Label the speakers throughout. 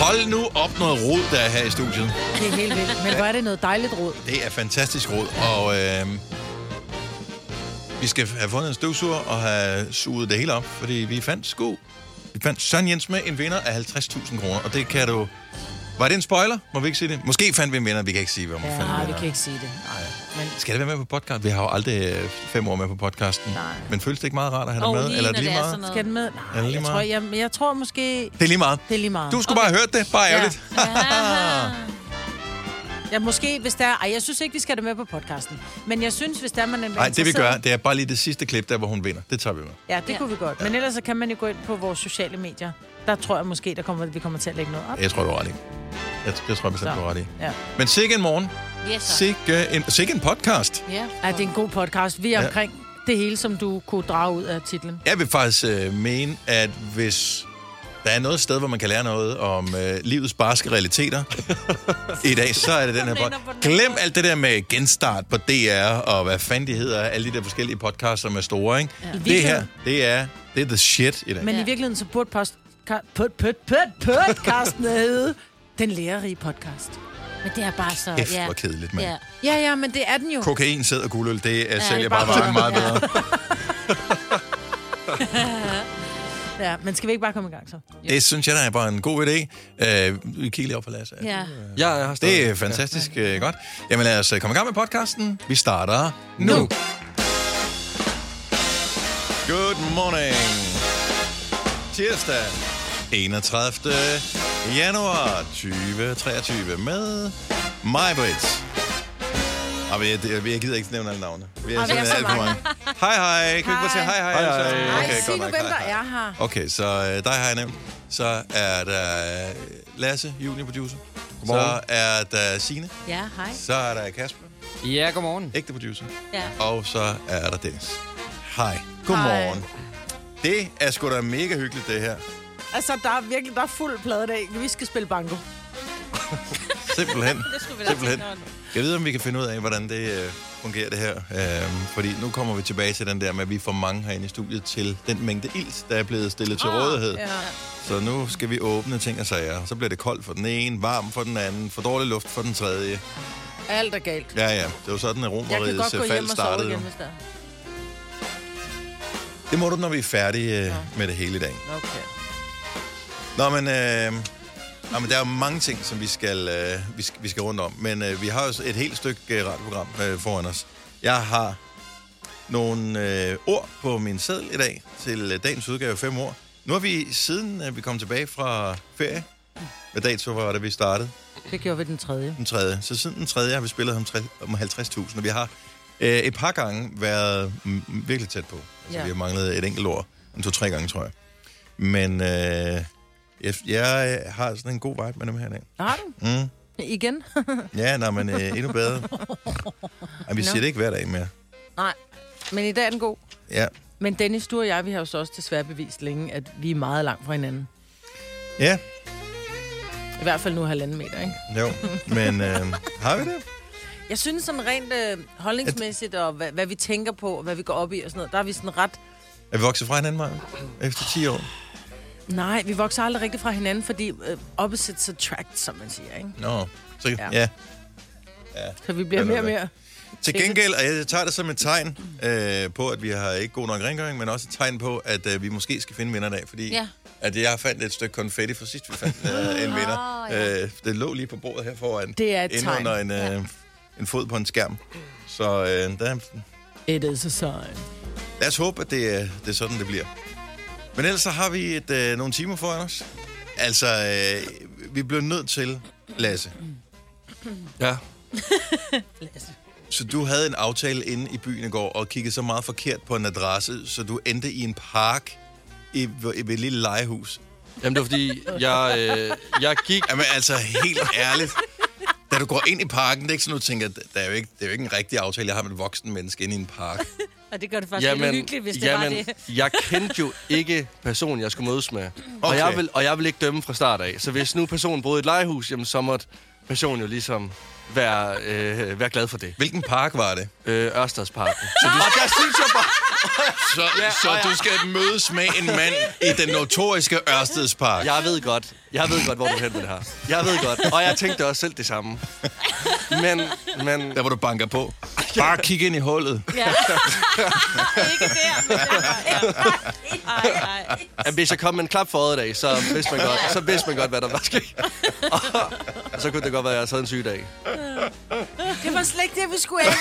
Speaker 1: Hold nu op noget rod, der er her i studiet.
Speaker 2: Det er helt vildt. Men hvor er det noget dejligt råd.
Speaker 1: Det er fantastisk råd, og øh, vi skal have fundet en støvsuger og have suget det hele op, fordi vi fandt sko. Vi fandt Søren Jens med en vinder af 50.000 kroner, og det kan du... Var det en spoiler? Må vi ikke sige det? Måske fandt vi en vinder, vi kan ikke sige, hvad man ja, fandt.
Speaker 2: Nej, vi kan ikke sige det. Nej. Men
Speaker 1: Skal det være med på podcast? Vi har jo aldrig øh, fem år med på podcasten. Nej. Men føles det ikke meget rart at have dig
Speaker 3: Og
Speaker 1: med?
Speaker 3: lige
Speaker 1: Eller er
Speaker 3: når
Speaker 1: det lige
Speaker 3: det er
Speaker 1: meget?
Speaker 3: sådan noget.
Speaker 2: skal den med? Nej,
Speaker 1: Er det lige
Speaker 2: jeg
Speaker 1: meget?
Speaker 2: tror, jeg, jeg tror måske...
Speaker 1: Det er lige meget.
Speaker 2: Det er lige meget.
Speaker 1: Du skulle okay. bare have hørt det. Bare ærgerligt. Ja.
Speaker 2: Ja, måske, hvis der er... Ej, jeg synes ikke, vi skal have det med på podcasten. Men jeg synes, hvis der er, man er
Speaker 1: Nej, det vi gør,
Speaker 2: interesseret-
Speaker 1: det er bare lige det sidste klip, der hvor hun vinder. Det tager vi med.
Speaker 2: Ja, det
Speaker 3: Ja.
Speaker 2: ja. kunne vi godt. Men ellers så kan man jo gå ind på vores sociale medier. Der tror jeg måske, der kommer, vi kommer til at lægge noget op.
Speaker 1: Jeg tror, du har ret i. Jeg, jeg tror bestemt, du har ret i.
Speaker 2: Ja.
Speaker 1: Men sikke en morgen.
Speaker 3: Yes, sir.
Speaker 1: Sikke en, sikke en podcast.
Speaker 3: Ja.
Speaker 2: Ej, det er en god podcast. Vi er
Speaker 1: Ja.
Speaker 2: ja. omkring det hele, som du kunne drage ud af titlen.
Speaker 1: Jeg vil faktisk øh, mene, at hvis der er noget sted, hvor man kan lære noget om øh, livets barske realiteter i dag, så er det den her
Speaker 2: Den ender på
Speaker 1: podcast.
Speaker 2: den her
Speaker 1: Glem alt det der med genstart på DR, og hvad fanden de hedder, alle de der forskellige podcasts, som er store, ikke? Ja. Det her,
Speaker 2: virkeligheden-
Speaker 1: det er, det er the shit i dag.
Speaker 2: Men
Speaker 3: Ja.
Speaker 2: ja. i virkeligheden, så burde post, ka, put, put, put, podcasten hedde Den lærerige podcast.
Speaker 3: Men det er bare så...
Speaker 1: Kæft,
Speaker 3: ja.
Speaker 1: hvor kedeligt, mand.
Speaker 3: Ja.
Speaker 2: Ja, ja, men det er den jo.
Speaker 1: Kokain, sæd og guldøl, det er, sælger
Speaker 3: det er
Speaker 1: bare
Speaker 3: bare
Speaker 1: varen meget
Speaker 3: varme,
Speaker 1: bedre.
Speaker 2: Ja, men skal vi ikke bare komme i gang så?
Speaker 1: Det synes jeg, der er bare en god idé. Øh, vi kigger lige op på Lasse.
Speaker 3: ja.
Speaker 4: Ja, jeg har stadig.
Speaker 1: Det er fantastisk ja. godt. Jamen lad os øh, komme i gang med podcasten. Vi starter nu.
Speaker 4: Nu.
Speaker 1: Good morning. Tirsdag 31. januar 2023 med mig, Britt. Ah, Og jeg, jeg, jeg gider ikke nævne alle navne. Vi er,
Speaker 2: Ej, vi er
Speaker 1: simpelthen
Speaker 2: så
Speaker 1: alt for mange. Hej, hej. Kan vi ikke bare sige hej, hej?
Speaker 4: Hej,
Speaker 1: alle sammen?
Speaker 4: hej. Ej,
Speaker 1: godt nok. Hej, hej.
Speaker 2: her.
Speaker 1: Okay, så øh, dig har jeg nævnt. Så er der øh, Lasse, juniorproducer. Så
Speaker 4: Godmorgen.
Speaker 1: er der Signe.
Speaker 3: Ja, hej.
Speaker 1: Så er der Kasper,
Speaker 4: Ja, godmorgen.
Speaker 1: ægte producer.
Speaker 3: Ja.
Speaker 1: Og så er der Dennis. Hej. Godmorgen. Det er sgu da mega hyggeligt, det her.
Speaker 2: Altså, der er virkelig der er fuld plade i dag. Vi skal spille banko.
Speaker 1: Simpelthen.
Speaker 3: Det skulle vi
Speaker 1: Simpelthen. Jeg ved, om vi kan finde ud af, hvordan det øh, fungerer, det her. Øhm, fordi nu kommer vi tilbage til den der med, at vi er for mange herinde i studiet til den mængde ilt, der er blevet stillet
Speaker 3: Ah,
Speaker 1: til rådighed. Så nu skal vi åbne ting og sager. Så bliver det koldt for den ene, varm for den anden, for dårlig luft for den tredje.
Speaker 2: Alt er galt.
Speaker 1: Ja, ja. Det var sådan, at
Speaker 2: Jeg kan
Speaker 1: romeriets
Speaker 2: godt gå
Speaker 1: øh,
Speaker 2: hjem
Speaker 1: fald
Speaker 2: og sove
Speaker 1: startede.
Speaker 2: igen,
Speaker 1: jo.
Speaker 2: hvis der er.
Speaker 1: Det må du, når vi er færdige øh, med det hele i dag.
Speaker 2: Okay.
Speaker 1: Nå, men, øh, nå, men der er jo mange ting, som vi skal, øh, vi skal, vi skal rundt om. Men øh, vi har jo et helt stykke øh, radioprogram øh, foran os. Jeg har nogle øh, ord på min seddel i dag til øh, dagens udgave 5 år. Nu har vi, siden øh, vi kom tilbage fra ferie, hvad dato var det, vi startede?
Speaker 2: Det gjorde vi den tredje.
Speaker 1: Den tredje. Så siden den tredje har vi spillet om tre- om 50.000, og vi har øh, et par gange været mm, virkelig tæt på. Altså, ja.
Speaker 2: Ja.
Speaker 1: Vi har manglet et enkelt ord. En to-tre gange, tror jeg. Men øh, jeg, jeg øh, har sådan en god vibe med dem her i dag.
Speaker 2: Har du?
Speaker 1: Mm.
Speaker 2: Igen?
Speaker 1: Ja, nej, men øh, endnu bedre. Ej, vi
Speaker 2: Nå.
Speaker 1: siger det ikke hver dag mere.
Speaker 2: Nej. Men i dag er den god.
Speaker 1: Ja,
Speaker 2: Men Dennis, du og jeg, vi har jo så også desværre bevist længe, at vi er meget langt fra hinanden.
Speaker 1: ja
Speaker 2: I hvert fald nu halvanden meter, ikke?
Speaker 1: jo. Men øh, har vi det?
Speaker 2: Jeg synes sådan rent øh, holdningsmæssigt, og hvad, hvad vi tænker på, og hvad vi går op i og sådan noget, der er vi sådan ret...
Speaker 1: Er vi vokset fra hinanden, Maja? Efter 10 år?
Speaker 2: Nej, vi vokser aldrig rigtig fra hinanden, fordi øh, opposites attract, som man siger, ikke?
Speaker 1: Nå, så, ja.
Speaker 2: Ja.
Speaker 1: ja.
Speaker 2: Så vi bliver
Speaker 1: Den
Speaker 2: mere
Speaker 1: er
Speaker 2: og mere...
Speaker 1: Til gengæld, og jeg tager det som et tegn øh, på, at vi har ikke god nok rengøring, men også et tegn på, at øh, vi måske skal finde vinder i dag, fordi ja.
Speaker 3: Ja.
Speaker 1: at jeg fandt et stykke konfetti for sidst, vi fandt øh, en vinder.
Speaker 3: Åh,
Speaker 1: ja. øh, det lå lige på bordet her foran.
Speaker 2: Det er et
Speaker 1: inde
Speaker 2: tegn.
Speaker 1: under en, øh, ja. en fod på en skærm. Så øh, der,
Speaker 2: It is a sign.
Speaker 1: lad os håbe, at det, øh, det er sådan, det bliver. Men ellers så har vi et, øh, nogle timer foran os. Altså, øh, vi bliver nødt til, Lasse.
Speaker 4: Ja.
Speaker 1: Så du havde en aftale inde i byen i går og kiggede så meget forkert på en adresse, så du endte i en park i, i et lille legehus.
Speaker 4: Jamen, det var fordi, jeg, øh, jeg gik...
Speaker 1: Jamen altså, helt ærligt. Da du går ind i parken, det er ikke sådan, du tænker, der er jo ikke, det er jo ikke en rigtig aftale, jeg har med et voksen menneske inde i en park.
Speaker 3: Og det gør det faktisk jamen, lidt hyggeligt, hvis det jamen, var det.
Speaker 4: jeg kendte jo ikke personen, jeg skulle mødes med. Okay.
Speaker 1: Okay.
Speaker 4: Og, jeg vil, og jeg vil ikke dømme fra start af. Så hvis nu personen boede i et legehus, jamen, så måtte person jo ligesom være, øh, være glad for det.
Speaker 1: Hvilken park var det?
Speaker 4: Øh, Ørstedsparken.
Speaker 1: Så du-
Speaker 4: Og der synes jeg bare...
Speaker 1: Så, ja, så du skal mødes med en mand i den notoriske Ørstedspark.
Speaker 4: Jeg ved godt, jeg ved godt, hvor du er hen med det her. Jeg ved godt, og jeg tænkte også selv det samme. Men, men...
Speaker 1: Der, hvor du banker på. Bare kig ind i hullet.
Speaker 3: Ja. ikke der, men Ej, ej.
Speaker 4: At hvis jeg kom med en klap for øjet i dag, så vidste man godt, så vidste man godt hvad der var sket. Og, og så kunne det godt være, at jeg også havde en syg dag.
Speaker 2: Det var slet ikke det, vi skulle af.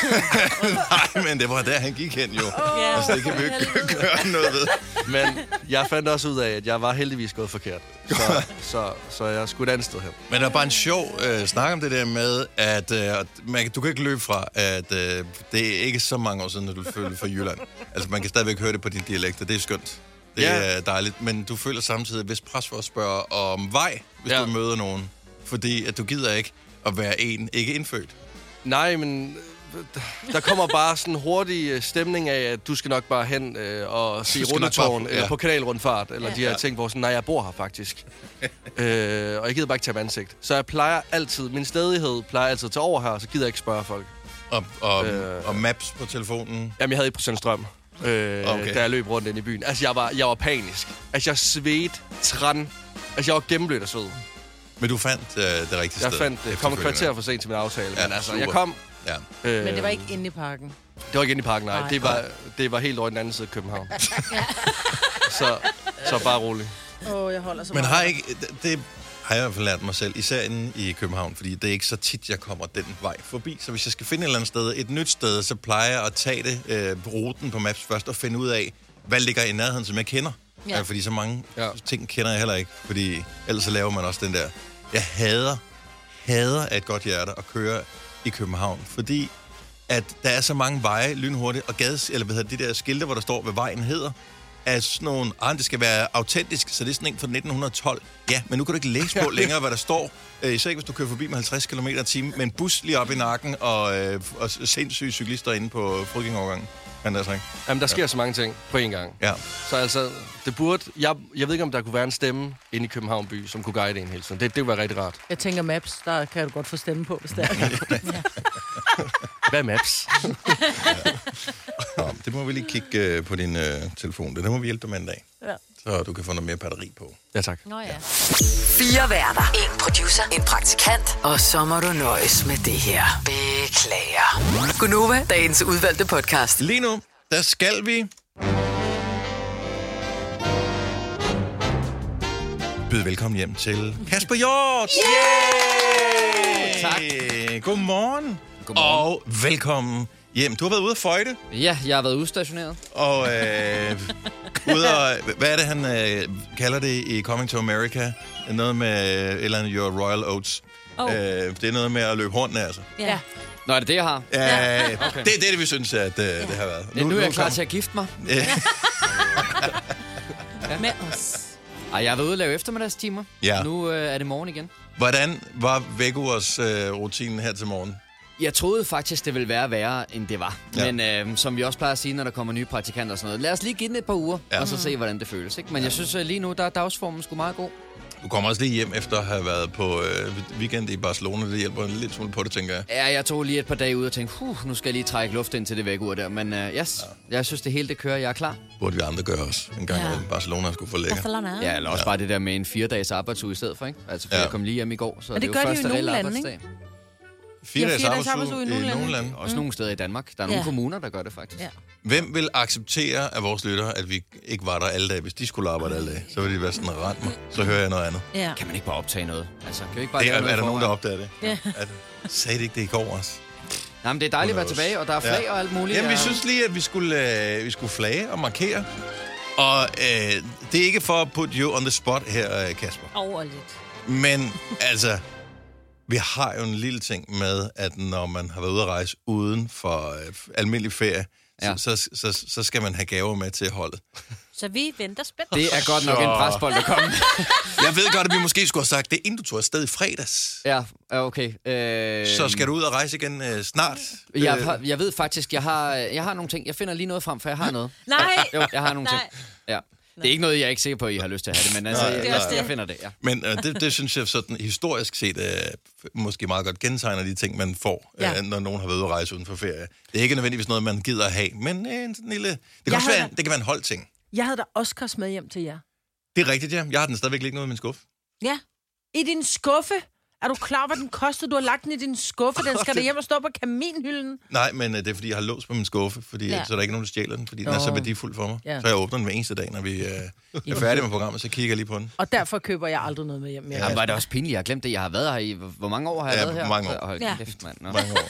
Speaker 1: Nej, men det var der, han gik hen jo.
Speaker 2: Ja.
Speaker 1: Altså, det kan vi jo ikke gøre noget ved.
Speaker 4: Men jeg fandt også ud af, at jeg var heldigvis gået forkert. Så, så, så jeg skulle et andet sted hen.
Speaker 1: Men der er bare en sjov øh, snak om det der med, at øh, man, kan- du kan ikke løbe fra, at øh, det er ikke så mange år siden, at du følte for Jylland. Altså, man kan stadigvæk høre det på din dialekt, og det er skønt. Det
Speaker 4: Ja.
Speaker 1: er dejligt, men du føler samtidig et vist pres for at spørge om vej, hvis ja.
Speaker 4: Ja.
Speaker 1: du møder nogen. Fordi at du gider ikke at være en ikke indfødt.
Speaker 4: Nej, men øh, der kommer bare sådan en hurtig øh, stemning af, at du skal nok bare hen øh, og se
Speaker 1: Du skal nok
Speaker 4: rundetårn,
Speaker 1: bare-
Speaker 4: eller
Speaker 1: ja.
Speaker 4: på kanalrundfart, eller
Speaker 3: Ja.
Speaker 4: ja. de her ting, hvor sådan, nej, jeg bor her faktisk. øh, og jeg gider bare ikke tage med ansigt. Så jeg plejer altid, min stedighed plejer altid at tage over her, og så gider jeg ikke spørge folk.
Speaker 1: Og, og, øh.
Speaker 4: Øh.
Speaker 1: og maps på telefonen.
Speaker 4: Jamen, jeg havde 1% strøm, øh,
Speaker 1: Okay.
Speaker 4: okay. da jeg løb rundt ind i byen. Altså, jeg var, jeg var panisk. Altså, jeg svedte træn. Altså, jeg var gennemblødt af sved.
Speaker 1: Men du fandt øh, det rigtige
Speaker 4: Jeg
Speaker 1: sted.
Speaker 4: fandt, øh, kom et kvarter for sent til min aftale,
Speaker 1: Ja,
Speaker 4: ja, men altså,
Speaker 1: super.
Speaker 4: jeg kom.
Speaker 1: Ja.
Speaker 4: Øh,
Speaker 2: Men det var ikke inde i parken.
Speaker 4: Det var ikke inde i parken, nej.
Speaker 2: Nej.
Speaker 4: Det var, det var helt over i den anden side af København. så, så bare rolig.
Speaker 2: Åh, oh, jeg holder så
Speaker 1: Men
Speaker 2: meget.
Speaker 1: har ikke... Det, det har jeg i hvert fald lært mig selv, især inde i København, fordi det er ikke så tit, jeg kommer den vej forbi. Så hvis jeg skal finde et eller andet sted, et nyt sted, så plejer jeg at tage det, øh, ruten på Maps først og finde ud af, hvad ligger i nærheden, som jeg kender. Ja.
Speaker 3: Ja.
Speaker 1: Ja, fordi så mange ja.
Speaker 4: Ja.
Speaker 1: ting kender jeg heller ikke, fordi ellers så laver man også den der... Jeg hader, hader af et godt hjerte at køre i København, fordi at der er så mange veje lynhurtigt, og gades, eller hvad hedder det, de der skilte, hvor der står, hvad vejen hedder, er sådan nogle, ah, det skal være autentisk, så det er sådan en fra 1912. Ja, men nu kan du ikke læse på længere, hvad der står. Øh, især ikke, hvis du kører forbi med 50 km i timen, med en bus lige op i nakken, og, øh, og sindssyge cyklister inde på altså fryggingovergangen. Anders Ring.
Speaker 4: Jamen, der sker så mange ting på én gang.
Speaker 1: Ja.
Speaker 4: Så altså, det burde... Jeg, jeg ved ikke, om der kunne være en stemme inde i København by, som kunne guide en hele tiden. Det, det var rigtig rart.
Speaker 2: Jeg tænker Maps, der kan du godt få stemme på, hvis det er.
Speaker 4: Hvad maps?
Speaker 1: Nå, det må vi lige kigge øh, på din øh, telefon. Det der må vi hjælpe dig med en dag.
Speaker 2: Ja.
Speaker 1: Så du kan få noget mere batteri på.
Speaker 4: Ja, tak.
Speaker 3: Nå ja.
Speaker 5: Fire værter. En producer. En praktikant. Og så må du nøjes med det her. Beklager. Gunova, dagens udvalgte podcast.
Speaker 1: Lige nu, der skal vi... Byde velkommen hjem til Kasper Hjort! Yeah! Tak. Godmorgen.
Speaker 6: Godmorgen.
Speaker 1: Og velkommen hjem. Du har været ude at føjte,
Speaker 6: Ja, jeg har været udstationeret.
Speaker 1: og øh, ude og, hvad er det, han øh, kalder det i Coming to America? Noget med øh, et eller andet Your Royal Oats. Oh.
Speaker 3: Oh.
Speaker 1: Øh, det er noget med at løbe hornene, altså.
Speaker 3: ja.
Speaker 6: Nå, er det det, jeg har?
Speaker 1: Øh, okay. Det er det, vi synes, at øh, det har været.
Speaker 6: Nu, nu er jeg klar
Speaker 1: kom-
Speaker 6: til at gifte mig.
Speaker 1: Øh,
Speaker 3: Med os.
Speaker 6: Ej, jeg har været ude og lave eftermiddagstimer.
Speaker 1: Ja.
Speaker 6: Nu øh, er det morgen igen.
Speaker 1: Hvordan var Vækkeurs øh, rutinen her til morgen?
Speaker 6: Jeg troede faktisk, det ville være værre, end det var.
Speaker 1: Ja.
Speaker 6: Ja. Men øh, som vi også plejer at sige, når der kommer nye praktikanter og sådan noget, lad os lige give den et par uger,
Speaker 1: Ja.
Speaker 6: ja. og så se, hvordan det føles. Ikke? Men jeg synes, øh, lige nu der er dagsformen sgu meget god.
Speaker 1: Du kommer også lige hjem efter at have været på øh, weekend i Barcelona. Det hjælper en lille smule på det, tænker jeg.
Speaker 6: Ja, jeg tog lige et par dage ud og tænkte, huh, nu skal jeg lige trække luft ind til det væk ur der. Men øh, yes, ja. jeg synes, det hele det kører. Jeg er klar.
Speaker 1: Burde vi andre gøre også en gang,
Speaker 3: Ja.
Speaker 1: ja. Barcelona skulle få lækker.
Speaker 3: Barcelona.
Speaker 6: Ja, eller også ja. bare det der med en fire dages arbejdsuge i stedet for, ikke? Altså, for
Speaker 1: Ja.
Speaker 6: ja. jeg kom lige hjem i går, så
Speaker 2: Og det
Speaker 6: er
Speaker 2: gør
Speaker 6: jo
Speaker 2: de jo i
Speaker 6: første
Speaker 2: nogle
Speaker 6: reelle
Speaker 2: lande,
Speaker 6: arbejdsdag.
Speaker 1: Fire
Speaker 2: Ja,
Speaker 1: dages
Speaker 2: fire dages
Speaker 1: arbejdsuge
Speaker 2: arbejdsuge i
Speaker 1: i
Speaker 2: nogle
Speaker 1: nogle
Speaker 2: lande.
Speaker 1: lande.
Speaker 6: Også nogle steder i Danmark. Der er nogle
Speaker 3: Ja.
Speaker 6: kommuner, der gør det faktisk.
Speaker 2: Ja.
Speaker 1: Hvem vil acceptere af vores lyttere, at vi ikke var der alle dage? Hvis de skulle arbejde alle dage, så ville de være sådan, rent mig, så hører jeg noget andet.
Speaker 3: Ja.
Speaker 6: Kan man ikke bare optage noget? Altså, kan vi ikke bare
Speaker 1: Det
Speaker 6: lave
Speaker 1: er,
Speaker 6: noget
Speaker 1: er der nogen, der
Speaker 6: forvejen?
Speaker 1: opdager det?
Speaker 2: Ja.
Speaker 1: At, sagde det ikke det i går også?
Speaker 6: Nej, men det er dejligt at være tilbage, og der er flag
Speaker 1: Ja.
Speaker 6: og alt muligt.
Speaker 1: Jamen, vi
Speaker 6: og-
Speaker 1: synes lige, at vi skulle, øh, vi skulle flage og markere. Og øh, det er ikke for at put you on the spot her, øh, Kasper.
Speaker 3: Over lidt.
Speaker 1: Men altså, vi har jo en lille ting med, at når man har været ude at rejse uden for øh, almindelig ferie, ja.
Speaker 6: Ja.
Speaker 1: så, så, så, så skal man have gaver med til holdet.
Speaker 3: Så vi venter spændt.
Speaker 6: Det er godt nok en presbold, der kommer.
Speaker 1: Jeg ved godt, at vi måske skulle have sagt det, inden du tog afsted i fredags.
Speaker 6: ja, ja, okay. Øh,
Speaker 1: Så skal du ud og rejse igen øh, snart.
Speaker 6: Jeg, har- jeg ved faktisk, jeg har, jeg har nogle ting. Jeg finder lige noget frem, for jeg har noget.
Speaker 3: Nej.
Speaker 6: Jo, jeg har nogle ting. Ja. Det er ikke noget, jeg er ikke sikker på, at I har lyst til at have det, men altså,
Speaker 1: Nej,
Speaker 6: jeg,
Speaker 1: det er også
Speaker 6: jeg,
Speaker 1: det.
Speaker 6: jeg finder det, ja.
Speaker 1: Men øh, det, det synes jeg sådan historisk set øh, måske meget godt gentegner de ting, man får, ja.
Speaker 2: Ja.
Speaker 1: øh, når nogen har været ude at rejse uden for ferie. Det er ikke nødvendigvis noget, man gider at have, men øh, en sådan lille... Det kan,
Speaker 2: Jeg
Speaker 1: også være,
Speaker 2: havde-
Speaker 1: det kan være en holdting.
Speaker 2: Jeg havde da Oscars med hjem til jer.
Speaker 1: Det er rigtigt, ja. Jeg har den stadigvæk liggende ude i min skuffe.
Speaker 2: Ja. I din skuffe. Er du klar, hvad den koster? Du har lagt den i din skuffe. Den skal da hjem og stå på kaminhylden.
Speaker 1: Nej, men øh, det er, fordi jeg har lås på min skuffe, fordi
Speaker 2: Ja.
Speaker 1: ja. så er der ikke nogen, der stjæler den, fordi den
Speaker 2: Nå.
Speaker 1: er så værdifuld for mig.
Speaker 2: Ja.
Speaker 1: Ja. Så jeg åbner den hver eneste dag, når vi øh, er færdige med programmet, så kigger jeg lige på den.
Speaker 2: Og derfor køber jeg aldrig noget med hjem mere.
Speaker 6: Jamen, var det også pinligt, jeg har glemt det. Jeg har været her i... Hvor mange år har jeg
Speaker 1: Ja,
Speaker 6: været her?
Speaker 1: mange år.
Speaker 6: Hold
Speaker 2: Ja.
Speaker 6: kæft, mand. Nå.
Speaker 1: mange år.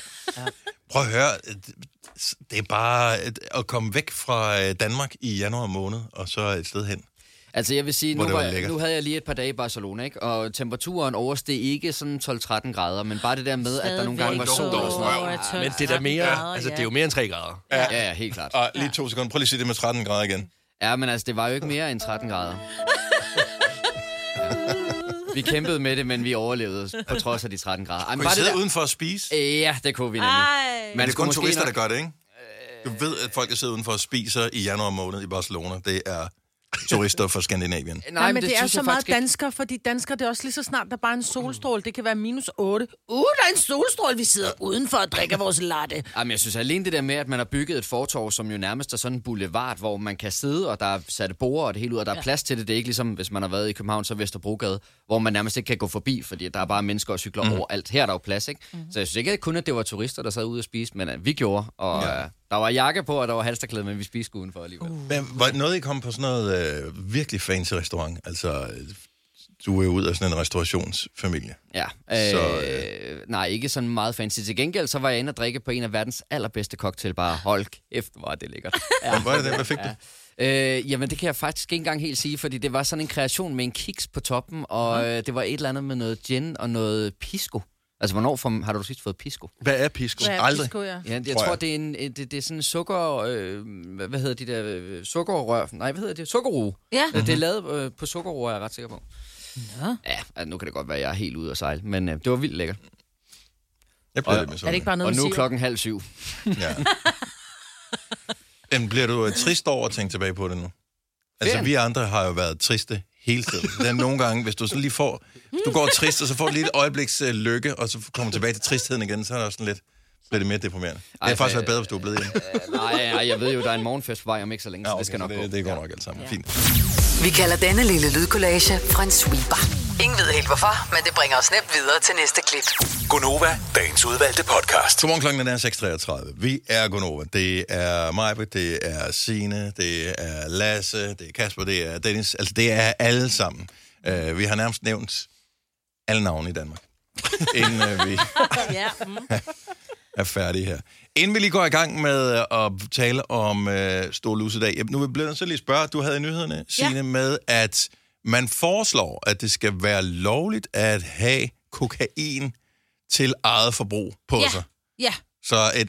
Speaker 1: Prøv at høre, øh, det er bare øh, at komme væk fra øh, Danmark i januar måned, og så et sted hen.
Speaker 6: Altså, jeg vil sige, nu,
Speaker 1: Hvor det var
Speaker 6: var,
Speaker 1: lækkert.
Speaker 6: nu havde jeg lige et par dage i Barcelona, ikke? Og temperaturen oversteg ikke sådan 12-13 grader, men bare det der med, at der nogle gange var sol
Speaker 1: Stadigvæk.
Speaker 6: og sådan
Speaker 1: Åh,
Speaker 6: noget.
Speaker 4: Men det er da mere... altså, det er jo mere end 3 grader.
Speaker 6: Ja, ja, helt klart.
Speaker 1: Og lige to sekunder, prøv lige at sige det med 13 grader igen.
Speaker 6: Ja, men altså, det var jo ikke mere end 13 grader. Vi kæmpede med det, men vi overlevede på trods af de 13 grader. Ej, men
Speaker 1: Kunne I
Speaker 6: var det
Speaker 1: sidde
Speaker 6: der...
Speaker 1: udenfor og spise?
Speaker 6: Ja, det kunne vi nemlig.
Speaker 3: Ej.
Speaker 1: Men det er
Speaker 6: skulle
Speaker 1: kun
Speaker 6: måske
Speaker 1: turister,
Speaker 6: nok-
Speaker 1: der gør det, ikke? Du ved, at folk, der sidder udenfor og spiser i januar måned i Barcelona, det er turister fra Skandinavien.
Speaker 2: Nej, men, det, det er
Speaker 6: synes
Speaker 2: så
Speaker 6: jeg
Speaker 2: meget
Speaker 6: faktisk ikke.
Speaker 2: danskere, fordi danskere, det er også lige så snart, der bare er en solstråle. Det kan være minus 8. Uh, der er en solstråle, vi sidder udenfor og drikker vores latte.
Speaker 6: Jamen, jeg synes alene det der med, at man har bygget et fortorv, som jo nærmest er sådan en boulevard, hvor man kan sidde, og der er sat borde og det hele ud, og der er plads til det. Det er ikke ligesom, hvis man har været i København, så Vesterbrogade, hvor man nærmest ikke kan gå forbi, fordi der er bare mennesker og cykler mm. overalt. Her er der jo plads, ikke? Mm. Så jeg synes ikke kun, at det var turister, der sad ude og spiste, men at vi gjorde, og ja. øh, der var jakke på, og der var halsterklæde, men vi spiste udenfor alligevel. Uh.
Speaker 1: Men var det noget, I kom på sådan noget øh, virkelig fancy restaurant? Altså, øh, du er jo ud af sådan en restaurationsfamilie.
Speaker 6: Ja, øh,
Speaker 1: Så,
Speaker 6: så, øh. nej, ikke sådan meget fancy. Til gengæld, så var jeg inde og drikke på en af verdens allerbedste cocktailbarer. Hold kæft, hvor er det lækkert. Ja.
Speaker 1: Hvor er det, hvad fik du?
Speaker 6: Øh, jamen, det kan jeg faktisk ikke engang helt sige, fordi det var sådan en kreation med en kiks på toppen, og øh, det var et eller andet med noget gin og noget pisco. Altså, hvornår får, har du sidst fået pisco?
Speaker 4: Hvad er pisco?
Speaker 2: Hvad er
Speaker 1: Aldrig.
Speaker 2: pisco, ja?
Speaker 6: Ja, jeg
Speaker 1: Tror
Speaker 6: tror,
Speaker 1: jeg.
Speaker 6: det er, en, øh, det, det er sådan en sukker... Øh, hvad hvad hedder de der... Øh, sukkerrør? Nej, hvad hedder det? Sukkerroe.
Speaker 2: Ja.
Speaker 6: Øh,
Speaker 1: Mhm.
Speaker 6: Det er lavet øh, på sukkerroe, er jeg ret sikker på. Ja. ja, altså, nu kan det godt være, at jeg er helt ude at sejle, men øh, det var vildt lækkert.
Speaker 1: Jeg bliver lidt med
Speaker 2: Er det ikke bare
Speaker 6: og
Speaker 2: noget,
Speaker 6: nu er
Speaker 2: man siger?
Speaker 6: klokken halv syv.
Speaker 1: Ja. Jamen, bliver du øh, trist over at tænke tilbage på det nu? Altså,
Speaker 6: Ferien.
Speaker 1: vi andre har jo været triste hele tiden. Der er nogle gange, hvis du sådan lige får... Hvis du går trist, og så får du lige et øjebliks øh, lykke, og så kommer tilbage til tristheden igen, så er det også sådan lidt... Bliver det mere deprimerende. det
Speaker 6: Ej,
Speaker 1: havde faktisk
Speaker 6: øh,
Speaker 1: været bedre, hvis du var blevet hjemme.
Speaker 6: Øh, nej, nej, jeg ved jo, der er en morgenfest på vej om ikke så længe, ja, okay, så det skal
Speaker 1: så
Speaker 6: nok gå.
Speaker 1: det, det går nok alt sammen. Fint.
Speaker 5: Vi kalder denne lille lydkollage en sweeper. Ingen ved helt hvorfor, men det bringer os nemt videre til næste klip.
Speaker 7: Gunova, dagens udvalgte podcast.
Speaker 1: Godmorgen Altså, klokken er 6.33. Vi er Gonova. Det er Majbet, det er Sine, det er Lasse, det er Kasper, det er Dennis. Altså, det er alle sammen. Uh, vi har nærmest nævnt alle navne i Danmark, inden uh, vi
Speaker 3: Ja, mm.
Speaker 1: er færdige her. Inden vi lige går i gang med øh, at tale om øh, Stor Lusedag, jeg- nu bliver jeg nødt til lige at spørge, du havde i nyhederne, Signe, ja. med at man foreslår, at det skal være lovligt at have kokain til eget forbrug på
Speaker 2: Ja.
Speaker 1: sig.
Speaker 2: Ja,
Speaker 1: Så et,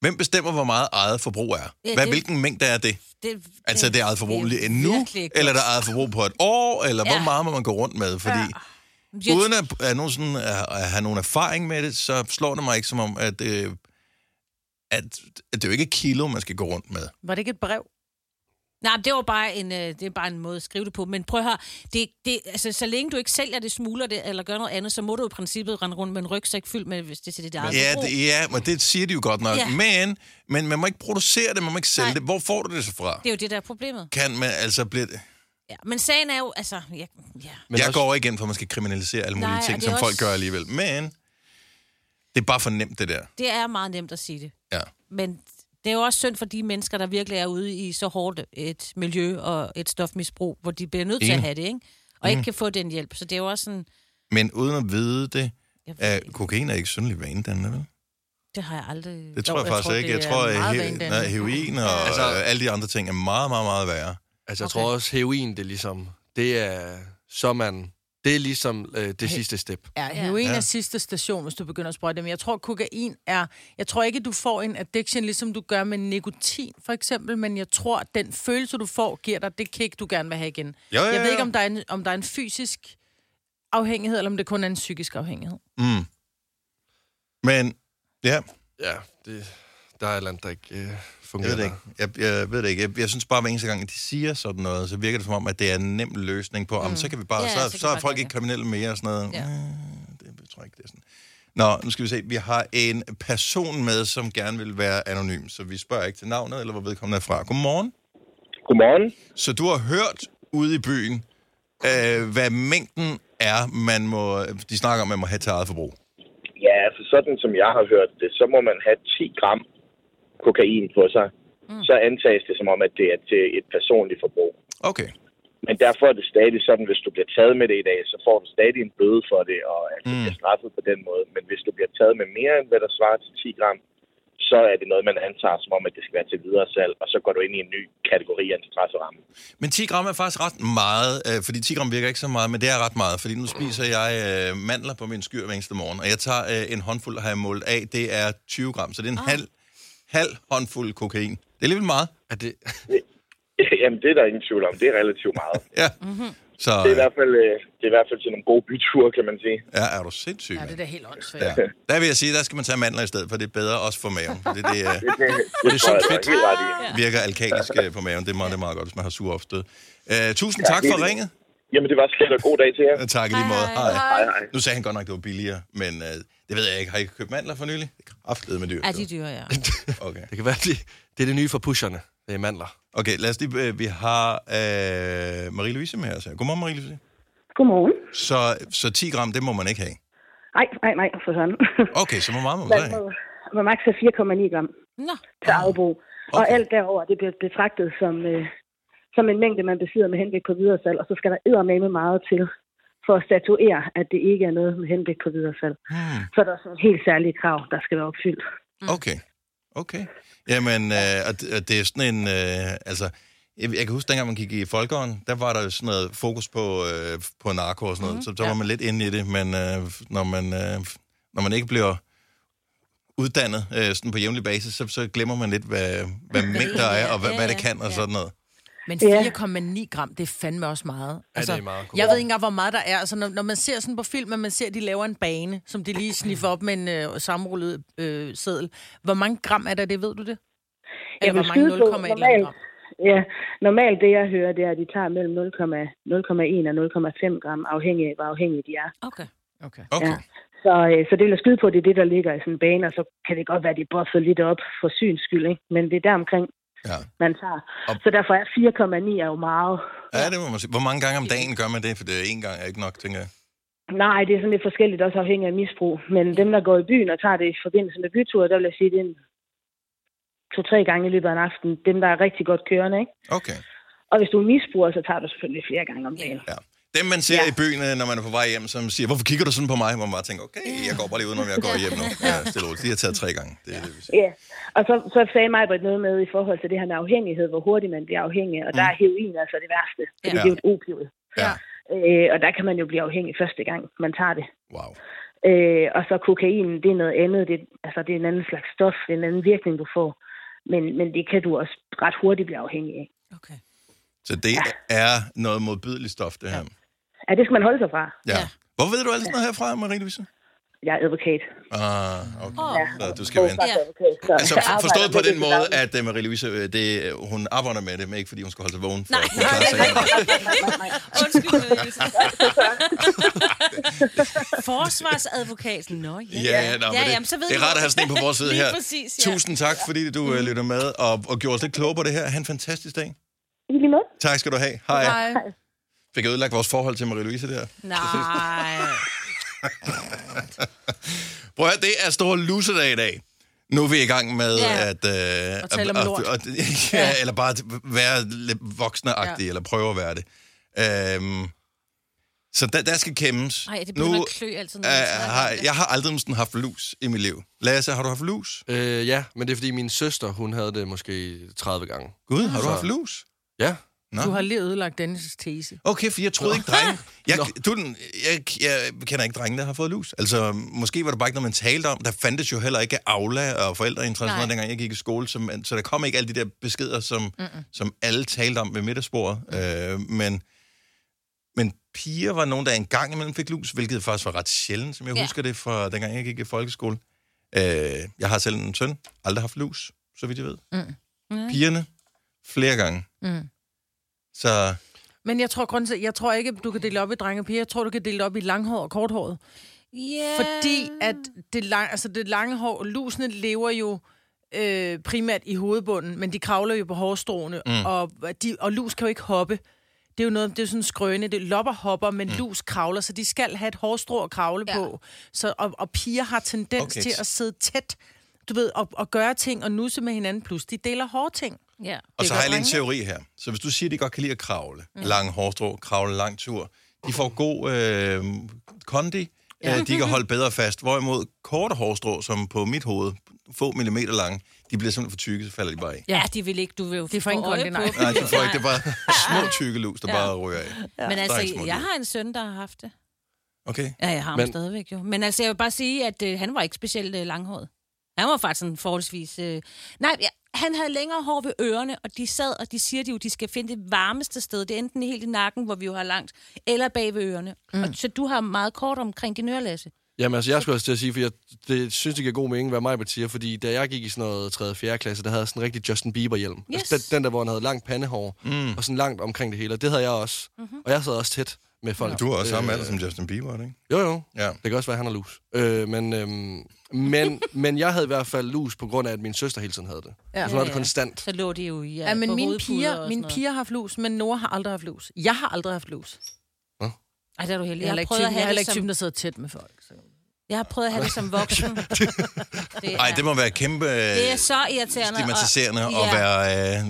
Speaker 1: hvem bestemmer, hvor meget eget forbrug er?
Speaker 2: Ja,
Speaker 1: Hvad,
Speaker 2: det-
Speaker 1: hvilken mængde er det?
Speaker 2: det,
Speaker 1: Altså, det er eget forbrug
Speaker 2: det
Speaker 1: lige
Speaker 2: er
Speaker 1: nu,
Speaker 2: virkelig godt.
Speaker 1: eller der er eget forbrug på et år, eller ja.
Speaker 2: Ja.
Speaker 1: hvor meget må man gå rundt med? Fordi ja.
Speaker 2: Jeg-
Speaker 1: uden at, at, nogen sådan, at, at have nogen erfaring med det, så slår det mig ikke som om, at, øh, at, at det er jo ikke et kilo, man skal gå rundt med.
Speaker 2: Var det ikke et brev?
Speaker 3: Nej, men det var bare en, øh, det er bare en måde at skrive det på. Men prøv at høre, det, det, altså, så længe du ikke sælger det, smugler det eller gør noget andet, så må du i princippet rende rundt med en rygsæk fyldt med, hvis det er til dit eget
Speaker 1: Ja,
Speaker 3: forbrug.
Speaker 1: det, ja, men det siger de jo godt nok. Ja.
Speaker 3: Ja.
Speaker 1: Men, men man må ikke producere det, man må ikke sælge
Speaker 3: Nej.
Speaker 1: det. Hvor får du det så fra?
Speaker 3: det er jo det, der er problemet.
Speaker 1: Kan man altså blive...
Speaker 3: Ja. Men sagen er jo, altså... Ja, ja.
Speaker 1: Men jeg
Speaker 4: også-
Speaker 1: også... går ikke ind for, at man skal kriminalisere alle mulige
Speaker 3: Nej,
Speaker 1: Nej,
Speaker 3: og
Speaker 1: ting,
Speaker 3: det
Speaker 1: som
Speaker 3: er
Speaker 1: også... folk
Speaker 3: også-
Speaker 1: gør alligevel. Men det er bare for nemt, det der.
Speaker 3: Det er meget nemt at sige det.
Speaker 1: Ja.
Speaker 3: Men det er jo også synd for de mennesker, der virkelig er ude i så hårdt et miljø og et stofmisbrug, hvor de bliver nødt til at
Speaker 1: Enig. Mm.
Speaker 3: have det, ikke? Og ikke kan få den hjælp. Så det er jo også sådan...
Speaker 1: Men uden at vide det,
Speaker 3: Jeg ved
Speaker 1: er
Speaker 3: ikke.
Speaker 1: kokain er ikke syndelig vanedannende, vel?
Speaker 3: Det har jeg aldrig...
Speaker 1: Det tror
Speaker 2: Jo,
Speaker 1: jeg
Speaker 2: jeg
Speaker 1: faktisk
Speaker 2: tror,
Speaker 1: ikke.
Speaker 2: det
Speaker 1: Jeg
Speaker 2: er
Speaker 1: tror, at
Speaker 2: meget
Speaker 1: he-
Speaker 2: vanedannende.
Speaker 1: nej, heroin og altså...
Speaker 4: Altså-
Speaker 1: alle de andre ting er meget, meget, meget værre.
Speaker 4: Altså, jeg
Speaker 2: Okay.
Speaker 4: tror også, heroin, det er ligesom... Det er... Så man... Det er ligesom øh, det sidste step.
Speaker 2: Ja, heroin
Speaker 1: Ja.
Speaker 2: ja. er sidste station, hvis du begynder at sprøjte det. Men jeg tror, kokain er... Jeg tror ikke, du får en addiction, ligesom du gør med nikotin, for eksempel. Men jeg tror, at den følelse, du får, giver dig det kick, du gerne vil have igen.
Speaker 1: Jo, jo,
Speaker 2: Jeg
Speaker 1: jo.
Speaker 2: ved ikke, om der, er en, om der er en fysisk afhængighed, eller om det kun er en psykisk afhængighed.
Speaker 1: Mm. Men ja,
Speaker 4: Ja, det... der er et eller andet, der ikke øh, fungerer.
Speaker 1: Jeg ved det ikke.
Speaker 4: der.
Speaker 1: Jeg, jeg ved det ikke. Jeg, jeg synes bare, hver eneste gang, at de siger sådan noget, så virker det som om, at det er en nem løsning på, om så kan vi bare,
Speaker 3: Mm. Ja, så
Speaker 1: ja,
Speaker 3: kan
Speaker 1: så, så,
Speaker 3: vi
Speaker 1: så er
Speaker 3: bare
Speaker 1: folk
Speaker 3: gøre
Speaker 1: ikke kriminelle mere og sådan noget.
Speaker 3: Ja.
Speaker 1: Ja. Mm, Det tror jeg ikke, det er sådan. Nå, nu skal vi se. Vi har en person med, som gerne vil være anonym, så vi spørger ikke til navnet, eller hvor vedkommende er fra. Godmorgen.
Speaker 8: Godmorgen.
Speaker 1: Så du har hørt ude i byen, øh, hvad mængden er, man må, de snakker om, man må have til eget forbrug.
Speaker 8: Ja, altså sådan som jeg har hørt det, så må man have 10 gram kokain på sig. Mm. Så antages det som om, at det er til et personligt forbrug.
Speaker 1: Okay.
Speaker 8: Men derfor er det stadig sådan, hvis du bliver taget med det i dag, så får du stadig en bøde for det, og altså mm. bliver straffet på den måde. Men hvis du bliver taget med mere end hvad der svarer til 10 gram, så er det noget, man antager som om, at det skal være til videre salg, og så går du ind i en ny kategori af en strafferamme.
Speaker 1: Men 10 gram er faktisk ret meget, øh, fordi 10 gram virker ikke så meget, men det er ret meget, fordi nu spiser jeg øh, mandler på min skyr hver eneste morgen, og jeg tager øh, en håndfuld, har jeg målt af, det er 20 gram, så det er en
Speaker 4: Ah.
Speaker 1: oh. halv, halv håndfuld kokain. Det er alligevel meget.
Speaker 4: Er det...
Speaker 8: Jamen, det er der ingen tvivl om. Det er relativt meget.
Speaker 1: Ja. Mm-hmm. Så
Speaker 8: Det er, i
Speaker 1: øh,
Speaker 8: hvert fald, øh, det er i hvert fald til nogle gode byture, kan man sige.
Speaker 1: ja, er du sindssyg,
Speaker 2: Ja, det er
Speaker 1: mand.
Speaker 2: da helt åndssvagt.
Speaker 1: Ja. Der vil jeg sige, der skal man tage mandler i stedet, for det er bedre også for maven. Det, det øh,
Speaker 8: Det, det, det, det
Speaker 4: sådan
Speaker 8: er altså
Speaker 4: fedt.
Speaker 8: helt ret i.
Speaker 2: Ah,
Speaker 1: virker alkalisk øh, på maven. Det er meget, det er meget godt, hvis man har sur opstød. Øh, tusind tak for ringet.
Speaker 8: Jamen, det var slet og god dag til jer.
Speaker 1: Ja, Tak i lige måde. Hej.
Speaker 8: Hej, hej.
Speaker 1: Nu sagde han godt nok, det var billigere, men øh, det ved jeg ikke. Har I købt mandler for nylig? Det er kraftedet med dyr.
Speaker 3: Er de dyre, ja.
Speaker 1: Okay.
Speaker 4: Det kan være, det, det er det nye for pusherne. Det er mandler.
Speaker 1: Okay, lad os lige, øh, vi har øh, Marie-Louise med os her. Godmorgen, Marie-Louise.
Speaker 9: Godmorgen.
Speaker 1: Så, så 10 gram, det må man ikke have.
Speaker 9: Nej, nej, nej, for sådan.
Speaker 1: Okay, så hvor meget må man
Speaker 9: Man
Speaker 1: så have?
Speaker 9: må, må maks. have 4,9 gram
Speaker 3: Nå,
Speaker 9: til afbrug. Og
Speaker 1: Okay.
Speaker 9: alt derover det bliver betragtet som, øh, som en mængde, man besidder med henblik på videresalg, og så skal der eddermame meget til for at statuere, at det ikke er noget med henblik på videresalg. Hmm. Så er der er sådan helt særlige krav, der skal være opfyldt.
Speaker 1: Okay, okay. Jamen, øh, og det, og det er sådan en, øh, altså, jeg, jeg kan huske, dengang man gik i Folkeåren, der var der jo sådan noget fokus på, øh, på narko og sådan noget, så der var man lidt inde i det, men øh, når, man, øh, når man ikke bliver uddannet øh, sådan på jævnlig basis, så, så glemmer man lidt, hvad, hvad mængder er, og hvad, hvad det kan og sådan noget.
Speaker 2: Men
Speaker 9: Ja.
Speaker 2: 4,9 gram, det er fandme også meget. Altså,
Speaker 4: det er meget.
Speaker 2: jeg ved ikke engang, hvor meget der er. Altså, når, når man ser sådan på film, at man ser, at de laver en bane, som de lige sniffer op med en øh, sammenrullet øh, seddel. Hvor mange gram er der, det ved du det? Eller hvor
Speaker 9: vil
Speaker 2: mange
Speaker 9: skyde på
Speaker 2: 0,1 eller andet gram?
Speaker 9: Ja, normalt det jeg hører, det er, at de tager mellem 0,1 og 0,5 gram, afhængig af, hvor afhængige de er.
Speaker 3: okay.
Speaker 2: Okay.
Speaker 1: Okay.
Speaker 9: Ja. Så, øh, så det vil jeg skyde på, det er det, der ligger i sådan en bane, og så kan det godt være, at de er buffet lidt op for syns skyld, ikke? men det er deromkring,
Speaker 1: Ja.
Speaker 9: man tager.
Speaker 1: Og-
Speaker 9: Så derfor er 4,9 er jo meget.
Speaker 1: Ja, det må man sige. Hvor mange gange om dagen gør man det? For det er én gang er ikke nok, tænker jeg.
Speaker 9: Nej, det er sådan lidt forskelligt, også afhængig af misbrug. Men dem, der går i byen og tager det i forbindelse med byture, der vil jeg sige, det er en to-tre gange i løbet af en aften. Dem, der er rigtig godt kørende, ikke?
Speaker 1: Okay.
Speaker 9: Og hvis du er misbruger, så tager du selvfølgelig flere gange om dagen.
Speaker 1: Ja. Dem, man ser ja.
Speaker 9: Ja.
Speaker 1: i byen, øh, når man er på vej hjem, som siger, hvorfor kigger du sådan på mig? Hvor man bare tænker, okay, jeg går bare lige udenom, jeg går hjem nu. Ja, stille og roligt. De har taget tre gange. Det er det, vi siger.
Speaker 9: Ja, og så, så sagde mig noget med i forhold til det her med afhængighed, hvor hurtigt man bliver afhængig,
Speaker 1: Mm.
Speaker 9: og der
Speaker 2: Mm.
Speaker 9: er heroin altså det værste, fordi
Speaker 1: Ja.
Speaker 9: det er jo et opioid.
Speaker 1: Ja.
Speaker 9: Øh, og der kan man jo blive afhængig første gang, man tager det.
Speaker 1: Wow.
Speaker 9: Øh, og så kokain, det er noget andet, det, altså det er en anden slags stof, det er en anden virkning, du får. Men, men det kan du også ret hurtigt blive afhængig af.
Speaker 3: okay.
Speaker 1: Så det er noget modbydeligt stof, det her.
Speaker 9: Ja, det skal man holde sig fra.
Speaker 1: Ja. Hvor ved du alt sådan noget herfra, Marie-Louise?
Speaker 9: Jeg er advokat.
Speaker 1: Ah, okay. Så du skal
Speaker 9: Jeg er
Speaker 1: vende.
Speaker 9: faktisk advokat, så
Speaker 1: Altså
Speaker 9: jeg
Speaker 1: for-
Speaker 9: arbejder
Speaker 1: forstået på
Speaker 9: med
Speaker 1: den
Speaker 9: det
Speaker 1: måde,
Speaker 9: til daglig.
Speaker 1: at øh, Marie-Louise, øh, det, øh, hun arbejder med det, men ikke fordi hun skal holde sig vågen. For,
Speaker 3: Nej,
Speaker 1: at kunne klare sig.
Speaker 3: Undskyld, Louise. Forsvarsadvokaten. Nå, ja.
Speaker 1: Ja, ja, nå, men
Speaker 3: ja
Speaker 1: det,
Speaker 3: jamen, så ved
Speaker 1: det er
Speaker 3: du-
Speaker 1: rart at have sådan en på vores side
Speaker 3: Lige
Speaker 1: her.
Speaker 3: præcis, ja.
Speaker 1: Tusind tak, fordi du øh, lytter med og, og gjorde os lidt klogere på det her. Han en fantastisk dag.
Speaker 9: I lige måde.
Speaker 1: Tak skal du have. Hej. Hej.
Speaker 2: Hej.
Speaker 1: Fik jeg ødelagt vores forhold til Marie-Louise der?
Speaker 3: Nej.
Speaker 1: Prøv at høre, det er stor lusedag i dag. Nu er vi i gang med
Speaker 3: Ja.
Speaker 1: at... Øh,
Speaker 2: Og tale om
Speaker 1: at-
Speaker 2: lort.
Speaker 1: at- at- ja, eller bare at være lidt voksneagtig, ja.
Speaker 2: Ja.
Speaker 1: eller prøve at være det. Øhm, så der, der skal kæmmes.
Speaker 3: Nej, det begynder at klø altid. når
Speaker 1: øh,
Speaker 3: man snakker om
Speaker 1: har,
Speaker 3: det.
Speaker 1: jeg har aldrig sådan haft lus i mit liv. Lasse, har du haft lus?
Speaker 4: Øh, ja, men det er fordi min søster, hun havde det måske 30 gange.
Speaker 1: Gud, har du
Speaker 4: Så-
Speaker 1: haft lus?
Speaker 4: Ja.
Speaker 1: Nå.
Speaker 2: Du har lige ødelagt Dennis' tese.
Speaker 1: Okay, for jeg troede ikke, drenge... Jeg,
Speaker 4: Nå.
Speaker 1: du, er den- jeg, jeg kender ikke drenge, der har fået lus. Altså, måske var det bare ikke noget, man talte om. Der fandtes jo heller ikke Aula og forældreinteresse,
Speaker 3: Nej.
Speaker 1: noget, dengang jeg gik i skole. Som, så der kom ikke alle de der beskeder, som, Mm-mm. som alle talte om ved middagsbordet. Øh, men, men piger var nogen, der engang imellem fik lus, hvilket faktisk var ret sjældent, som jeg ja.
Speaker 3: Ja.
Speaker 1: husker det fra dengang, jeg gik i folkeskole. Øh, jeg har selv en søn, aldrig haft lus, så vidt jeg ved.
Speaker 2: Mm. Mm.
Speaker 1: Pigerne, flere gange.
Speaker 2: Mm.
Speaker 1: Så
Speaker 2: Men jeg tror, grunden til, jeg tror ikke, du kan dele op i drenge og piger. Jeg tror, du kan dele op i langhår og korthåret.
Speaker 3: Yeah.
Speaker 2: Fordi at det, lang, altså det lange hår, lusene lever jo øh, primært i hovedbunden, men de kravler jo på hårstråene,
Speaker 3: Mm.
Speaker 2: mm. og, de, og lus kan jo ikke hoppe. Det er jo noget, det er jo sådan en skrøne, det lopper hopper, men mm. lus kravler, så de skal have et hårstrå at kravle ja. på. Så, og, og piger har tendens
Speaker 1: Okay.
Speaker 2: okay. til at sidde tæt, du ved, og, og gøre ting og nusse med hinanden, plus de deler hårde ting.
Speaker 3: Ja.
Speaker 1: Og så har jeg lige en teori her. Så hvis du siger, at de godt kan lide at kravle, mm. lang hårstrå, kravle lang tur, de får god øh, kondi,
Speaker 10: Ja.
Speaker 1: ja. de kan holde bedre fast. Hvorimod korte hårstrå, som på mit hoved, få millimeter lange, de bliver simpelthen for tykke, så falder de bare af.
Speaker 3: Ja, de vil ikke, du vil jo
Speaker 2: De
Speaker 3: få
Speaker 2: får ingen
Speaker 3: øje
Speaker 2: kondi, nej.
Speaker 3: på dem.
Speaker 1: Nej, de får ikke, det er bare små tykke lus, der
Speaker 3: Ja.
Speaker 1: bare ryger af. Der
Speaker 3: Men
Speaker 1: er ikke
Speaker 3: altså,
Speaker 1: små
Speaker 3: jeg
Speaker 1: lus.
Speaker 3: har en søn, der har haft det.
Speaker 1: Okay.
Speaker 3: Ja, jeg har ham Men... stadigvæk jo. Men altså, jeg vil bare sige, at øh, han var ikke specielt øh, langhåret. Han var faktisk sådan forholdsvis... Øh... Nej, ja, han havde længere hår ved ørerne, og de sad, og de siger de jo, de skal finde det varmeste sted. Det er enten helt i nakken, hvor vi jo har langt, eller bag ved ørerne. Mm. Og, så du har meget kort omkring din ørelasse.
Speaker 4: Jamen altså, jeg skulle også til at sige, for jeg det, synes, det giver god mening, hvad Majbert siger, fordi da jeg gik i sådan noget 3. og 4. klasse, der havde jeg sådan en rigtig Justin Bieber-hjelm. Yes. Altså, den, den, der, hvor han havde langt pandehår, mm. og sådan langt omkring det hele, og det havde jeg også.
Speaker 2: Mhm.
Speaker 4: Mm-hmm. Og jeg sad også tæt med folk. Øh,
Speaker 1: Du har også samme alder som Justin Bieber, er det ikke?
Speaker 4: Jo, jo.
Speaker 1: Ja.
Speaker 4: Det kan også være, at han har lus. Øh, men, øhm, men, men jeg havde i hvert fald lus på grund af, at min søster hele tiden havde det.
Speaker 2: Ja.
Speaker 4: Ja. Så var det
Speaker 2: Ja, ja.
Speaker 4: konstant.
Speaker 3: Så lå de jo i øh,
Speaker 2: Ja, ja men mine
Speaker 3: hovedpuder og
Speaker 2: piger,
Speaker 3: sådan
Speaker 2: mine
Speaker 3: noget.
Speaker 2: piger har haft lus, men Nora har aldrig haft lus. Jeg har aldrig haft lus.
Speaker 3: Ej, der er du heldig.
Speaker 2: Jeg er
Speaker 3: Jeg,
Speaker 2: heller
Speaker 3: jeg, prøvede at
Speaker 2: ikke typen, jeg er
Speaker 3: have det
Speaker 2: heller ikke
Speaker 3: som,
Speaker 2: typen, der sidder tæt med folk. Så.
Speaker 3: jeg har prøvet at have det som voksen. det,
Speaker 1: Nej, det må være kæmpe øh,
Speaker 3: det er så irriterende. og-
Speaker 1: stigmatiserende at være... Øh,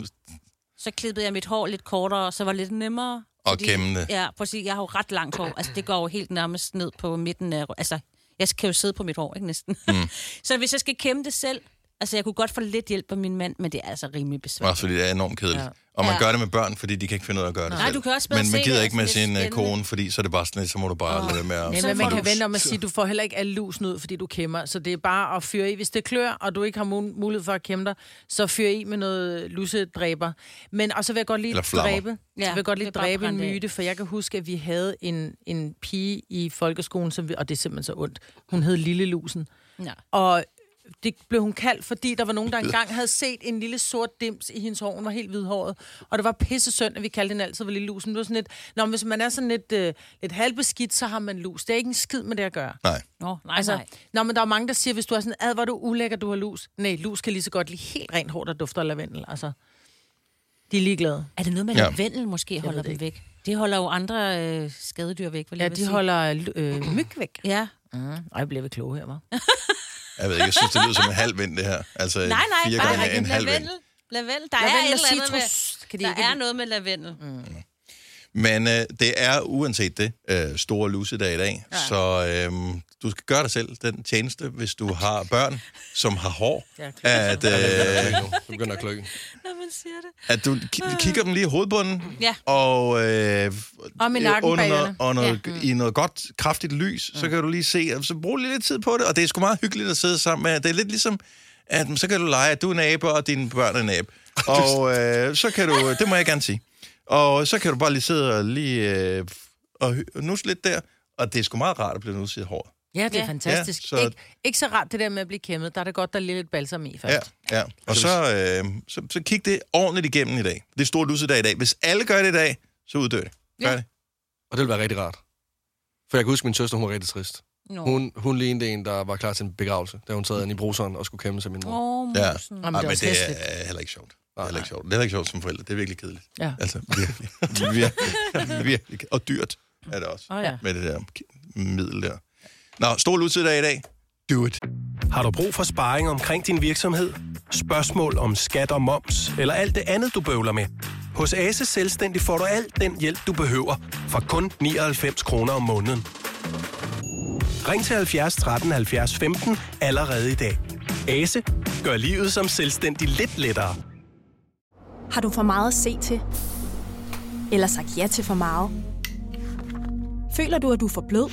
Speaker 3: så klippede jeg mit hår lidt kortere, og så var det lidt nemmere.
Speaker 1: Og gemme det.
Speaker 3: Ja, prøv at sige, jeg har jo ret langt hår. Altså, det går jo helt nærmest ned på midten af... Altså, jeg kan jo sidde på mit hår, ikke næsten? Mm. så hvis jeg skal kæmpe det selv... Altså, jeg kunne godt få lidt hjælp af min mand, men det er altså rimelig besværligt.
Speaker 1: Også fordi det er enormt kedeligt.
Speaker 3: Ja.
Speaker 1: Ja. Og man
Speaker 3: Ja.
Speaker 1: ja. gør det med børn, fordi de kan ikke finde ud af at gøre det
Speaker 3: Nej,
Speaker 1: selv.
Speaker 3: du kan også bedre
Speaker 1: Men man
Speaker 3: se
Speaker 1: gider
Speaker 3: det,
Speaker 1: ikke med
Speaker 3: altså, det er
Speaker 1: sin øh,
Speaker 3: spændende.
Speaker 1: kone, fordi så er det bare sådan lidt, så må du bare lade være med at...
Speaker 2: Ja, men man kan vente om at sige, at du får heller ikke alle lus ud, fordi du kæmmer. Så det er bare at fyre i. Hvis det klør, og du ikke har mu- mulighed for at kæmpe dig, så fyr i med noget lusedræber. Men, og så vil jeg godt lige
Speaker 1: Eller flammer.
Speaker 2: dræbe,
Speaker 3: Ja,
Speaker 2: ja, så vil jeg godt
Speaker 3: det
Speaker 2: lige
Speaker 3: er bare
Speaker 2: dræbe en
Speaker 3: brændt af.
Speaker 2: myte, for jeg kan huske, at vi havde en, en pige i folkeskolen, som vi, og det er simpelthen så ondt. Hun hed Lille Lusen.
Speaker 3: Ja.
Speaker 2: Og det blev hun kaldt, fordi der var nogen, der engang havde set en lille sort dims i hendes hår. Hun var helt hvidhåret. Og det var pisse synd, at vi kaldte hende altid for lille lusen. Det var sådan lidt, Nå, men hvis man er sådan lidt, øh, lidt halvbeskidt, så har man lus. Det er ikke en skid med det at gøre.
Speaker 1: Nej.
Speaker 3: Nå, nej,
Speaker 2: altså,
Speaker 3: nej.
Speaker 2: Nå, men der er mange, der siger, hvis du er sådan, ad, hvor er du ulækker, du har lus. Nej, lus kan lige så godt lide helt rent hår, der dufter af lavendel. Altså, de er ligeglade.
Speaker 3: Er det noget med, at
Speaker 2: Ja.
Speaker 3: lavendel måske holder dem væk? Det holder jo andre øh, skadedyr væk, vil jeg
Speaker 2: Ja,
Speaker 3: vil
Speaker 2: de
Speaker 3: sige.
Speaker 2: holder øh, myg væk.
Speaker 3: Ja.
Speaker 2: Mm. Ej, bliver vi kloge her, var?
Speaker 1: Jeg ved ikke, jeg synes, det lyder som en halv vind, det her. Altså
Speaker 3: Nej, nej,
Speaker 1: fire
Speaker 3: bare
Speaker 1: gange en halv vind.
Speaker 3: lavendel. Lavendel, der
Speaker 2: Lavendel
Speaker 3: er et
Speaker 2: og
Speaker 3: eller andet
Speaker 2: citrus.
Speaker 3: med,
Speaker 2: Kan de
Speaker 3: der
Speaker 2: ikke-
Speaker 3: er noget med lavendel. Mm.
Speaker 1: Men øh, det er uanset det øh, store lusedag i dag, ja. så øh, du skal gøre dig selv den tjeneste, hvis du har børn, som har hår,
Speaker 4: Ja,
Speaker 1: at,
Speaker 4: Ja, det begynder at
Speaker 1: øh,
Speaker 4: klø nu. Det begynder at
Speaker 3: Når
Speaker 4: klø.
Speaker 3: man siger det.
Speaker 1: at du ki- kigger dem lige i hovedbunden,
Speaker 3: Ja.
Speaker 1: og, øh,
Speaker 2: Om i
Speaker 1: øh,
Speaker 2: nakken
Speaker 1: under noget,
Speaker 2: bagerne.
Speaker 1: og noget, ja. i noget godt, kraftigt lys, så kan du lige se, og så brug lige lidt tid på det, og det er sgu meget hyggeligt at sidde sammen med. Det er lidt ligesom, at så kan du lege, at du er en abe, og dine børn er en abe. Og øh, så kan du, det må jeg gerne sige, og så kan du bare lige sidde og lige øh, og, hy- og nusse lidt der, og det er sgu meget rart at blive nusset i håret.
Speaker 2: Ja, det er ja. fantastisk. Ja, så... ikke, ikke så rart det der med at blive kæmmet. Der er det godt, der er lige lidt balsam i først.
Speaker 1: Ja, ja. Og så, øh, så, så kig det ordentligt igennem i dag. Det er stor lussedag i dag. Hvis alle gør det i dag, så uddør det. Gør
Speaker 2: Ja.
Speaker 1: det.
Speaker 4: Og det ville være rigtig rart. For jeg kan huske, at min søster, hun var rigtig trist.
Speaker 3: Nå.
Speaker 4: Hun, hun lignede en, der var klar til en begravelse, da hun sad inde i bruseren og skulle kæmpe sig min mor.
Speaker 3: Åh,
Speaker 1: Ja.
Speaker 3: musen.
Speaker 1: Jamen, det er, men det er heller ikke sjovt. Det er heller ikke sjovt. Det er heller ikke sjovt som forældre. Det er virkelig kedeligt.
Speaker 2: Ja.
Speaker 1: Altså, virkelig. virkelig, virkelig. Og dyrt er det også.
Speaker 2: Åh, ja.
Speaker 1: Med det der middel der. Nå, stor lussedag i dag. Do it.
Speaker 10: Har du brug for sparring omkring din virksomhed? Spørgsmål om skat og moms, eller alt det andet, du bøvler med? Hos Ase Selvstændig får du alt den hjælp, du behøver, for kun 99 kroner om måneden. Ring til 70 13 70 15 allerede i dag. Ase gør livet som selvstændig lidt lettere.
Speaker 11: Har du for meget at se til? Eller sagt ja til for meget? Føler du, at du er for blød?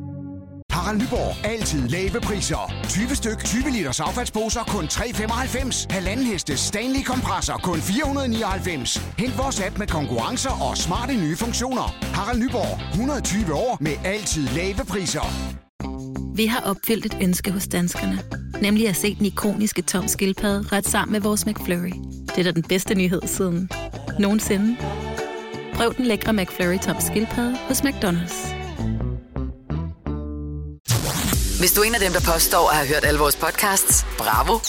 Speaker 12: fra Nyborg. Altid lave priser. 20 styk, 20 liters affaldsposer kun 3,95. Halvanden heste Stanley kompresser kun 499. Hent vores app med konkurrencer og smarte nye funktioner. Harald Nyborg. 120 år med altid lave priser.
Speaker 13: Vi har opfyldt et ønske hos danskerne. Nemlig at se den ikoniske tom skildpadde ret sammen med vores McFlurry. Det er da den bedste nyhed siden nogensinde. Prøv den lækre McFlurry tom skildpadde hos McDonald's.
Speaker 5: Hvis du er en af dem, der påstår at have hørt alle vores podcasts, bravo.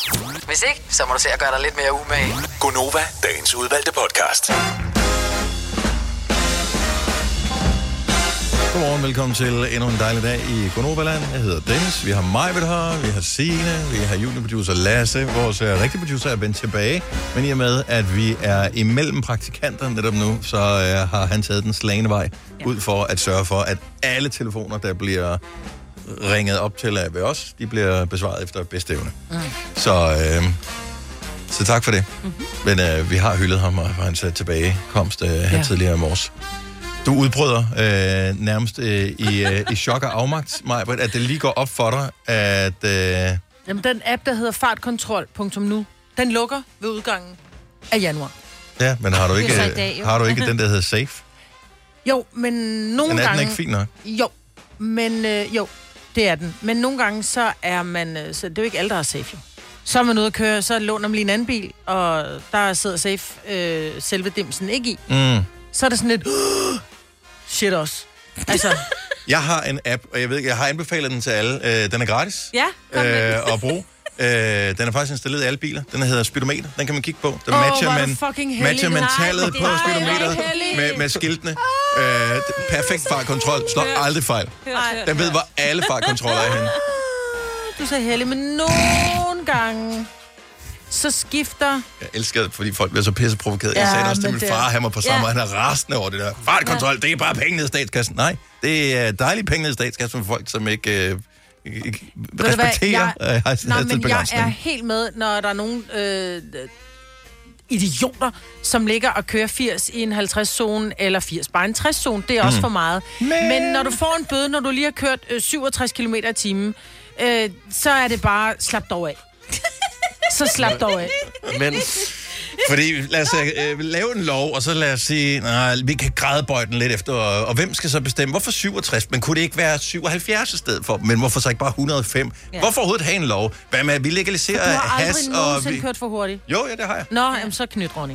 Speaker 5: Hvis ikke, så må du se at gøre dig lidt mere umage.
Speaker 7: Gunova, dagens udvalgte podcast.
Speaker 1: Godmorgen, velkommen til endnu en dejlig dag i Konobaland. Jeg hedder Dennis, vi har Majbet her, vi har Signe, vi har juniorproducer Lasse, vores øh, rigtige producer er vendt tilbage. Men i og med, at vi er imellem praktikanter netop nu, så øh, har han taget den slagende vej ja. ud for at sørge for, at alle telefoner, der bliver ringet op til af ved os, de bliver besvaret efter bedste evne.
Speaker 14: Mm. Mhm.
Speaker 1: Så, øh, så tak for det. Mm-hmm. Men øh, vi har hyldet ham og for hans øh, tilbagekomst øh, her
Speaker 14: Ja.
Speaker 1: tidligere i morges. Du udbryder øh, nærmest øh, i, øh, i chok og afmagt, Majbert, at det lige går op for dig, at... Øh,
Speaker 2: Jamen, den app, der hedder fartkontrol.nu, den lukker ved udgangen af januar.
Speaker 1: ja, men har du
Speaker 2: Det er
Speaker 1: ikke,
Speaker 2: så i dag,
Speaker 1: øh,
Speaker 2: jo.
Speaker 1: har du ikke den, der hedder Safe?
Speaker 2: Jo, men nogle
Speaker 1: Men er den
Speaker 2: gange...
Speaker 1: ikke fin nok?
Speaker 2: Jo, men øh, jo, det er den. Men nogle gange, så er man... Øh, så det er jo ikke alle, der har safe, jo. Så er man ude at køre, så låner man lige en anden bil, og der sidder safe øh, selve dimsen ikke i.
Speaker 1: Mm.
Speaker 2: Så er det sådan lidt... Shit også. Altså,
Speaker 1: Jeg har en app, og jeg ved ikke, jeg har anbefalet den til alle. Øh, den er gratis.
Speaker 2: ja, kom med.
Speaker 1: øh, at bruge. Øh, den er faktisk installeret i alle biler. Den hedder speedometer. Den kan man kigge på. Den
Speaker 2: Åh,
Speaker 1: matcher
Speaker 2: hvor er du
Speaker 1: man,
Speaker 2: fucking heldig.
Speaker 1: matcher man
Speaker 2: Nej,
Speaker 1: tallet
Speaker 2: det
Speaker 1: på
Speaker 2: er- Nej,
Speaker 1: speedometeret
Speaker 2: hvor er du heldig.
Speaker 1: med, med skiltene. Øh, d- perfekt fartkontrol. Slår aldrig fejl.
Speaker 2: Ej.
Speaker 1: Den ved, hvor alle fartkontroller er henne.
Speaker 2: Du er så heldig, men nogle gange, så skifter...
Speaker 1: Jeg elsker det, fordi folk bliver så pisse provokeret. Jeg
Speaker 2: Ja,
Speaker 1: sagde det også til
Speaker 2: men
Speaker 1: min
Speaker 2: det-
Speaker 1: far, han var på samme,
Speaker 2: Ja.
Speaker 1: ja. han er rasende over det der. Fartkontrol,
Speaker 2: Ja.
Speaker 1: det er bare penge ned i statskassen. Nej, det er dejlige penge ned i statskassen for folk, som ikke... Øh, ikke
Speaker 2: Ved du hvad,
Speaker 1: respekterer
Speaker 2: jeg-
Speaker 1: øh,
Speaker 2: Nej, men jeg er
Speaker 1: hastighedsbegrænsningen.
Speaker 2: helt med, når der er nogen øh, idioter, som ligger og kører 80 i en 50-zone, eller 80 bare en 60-zone. Det er også
Speaker 15: Mm.
Speaker 2: for meget. Men... men når du får en bøde, når du lige har kørt øh, 67 km i timen, øh, så er det bare, slap dog af. så slap dog af.
Speaker 1: Men, fordi lad os øh, lave en lov, og så lad os sige, nej, vi kan grædebøje den lidt efter, og, og hvem skal så bestemme? Hvorfor 67? Men kunne det ikke være 77 i stedet for? Men hvorfor så ikke bare 105?
Speaker 2: Ja.
Speaker 1: Ja. Hvorfor overhovedet have en lov? Hvad med, at vi
Speaker 2: Du
Speaker 1: legaliserer
Speaker 2: har aldrig
Speaker 1: has og...
Speaker 2: nogensinde
Speaker 1: Vi...
Speaker 2: kørt for hurtigt.
Speaker 1: Jo, ja, det har jeg.
Speaker 2: Nå, jamen, så knyt, Ronny.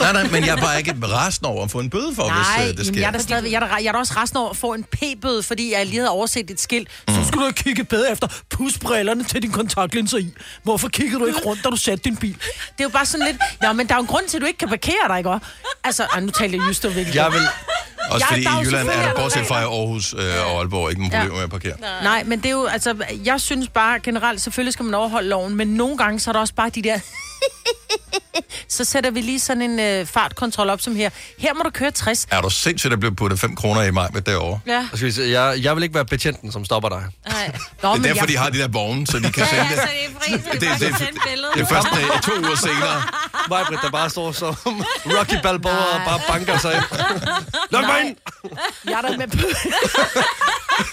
Speaker 1: Nej, nej, men jeg er bare ikke rasende over at få en bøde for,
Speaker 2: Nej,
Speaker 1: hvis øh, det
Speaker 2: jamen,
Speaker 1: sker.
Speaker 2: jeg er da stadig, jeg er da, jeg er da også resten over at få en p-bøde, fordi jeg lige havde overset et skilt. Mm. Så skulle du have kigget bedre efter. Pus brillerne til din kontaktlinser i. Hvorfor kiggede du ikke rundt, da du satte din bil? Det er jo bare sådan lidt, nå, men der er jo en grund til, at du ikke kan parkere dig, ikke også? Altså, ej, nu taler jeg just om virkelig.
Speaker 1: Jeg vil... Også
Speaker 2: Jeg-
Speaker 1: fordi
Speaker 2: der er
Speaker 1: i
Speaker 2: jo
Speaker 1: Jylland er der,
Speaker 2: selvfølgelig
Speaker 1: bortset fra i
Speaker 2: regler.
Speaker 1: Aarhus øh, og Aalborg, ikke nogen problemer med at parkere.
Speaker 2: Nej, men det er jo, altså, jeg synes bare generelt, selvfølgelig skal man overholde loven, men nogle gange, så er der også bare de der... så sætter vi lige sådan en øh, fartkontrol op som her. Her må du køre 60.
Speaker 1: Er du sindssygt, der blev puttet 5 kroner i mig med derovre?
Speaker 2: Ja.
Speaker 4: Skal vi se, jeg, jeg vil ikke være betjenten, som stopper dig.
Speaker 2: Nej.
Speaker 1: Nå, det er derfor, jeg... de har de der vogne, så de kan sende det.
Speaker 4: det, det, det,
Speaker 1: Det er først øh, to uger senere.
Speaker 4: Majbrit, der bare står som Rocky Balboa og bare banker sig ind. Luk mig ind!
Speaker 2: Jeg er da med på...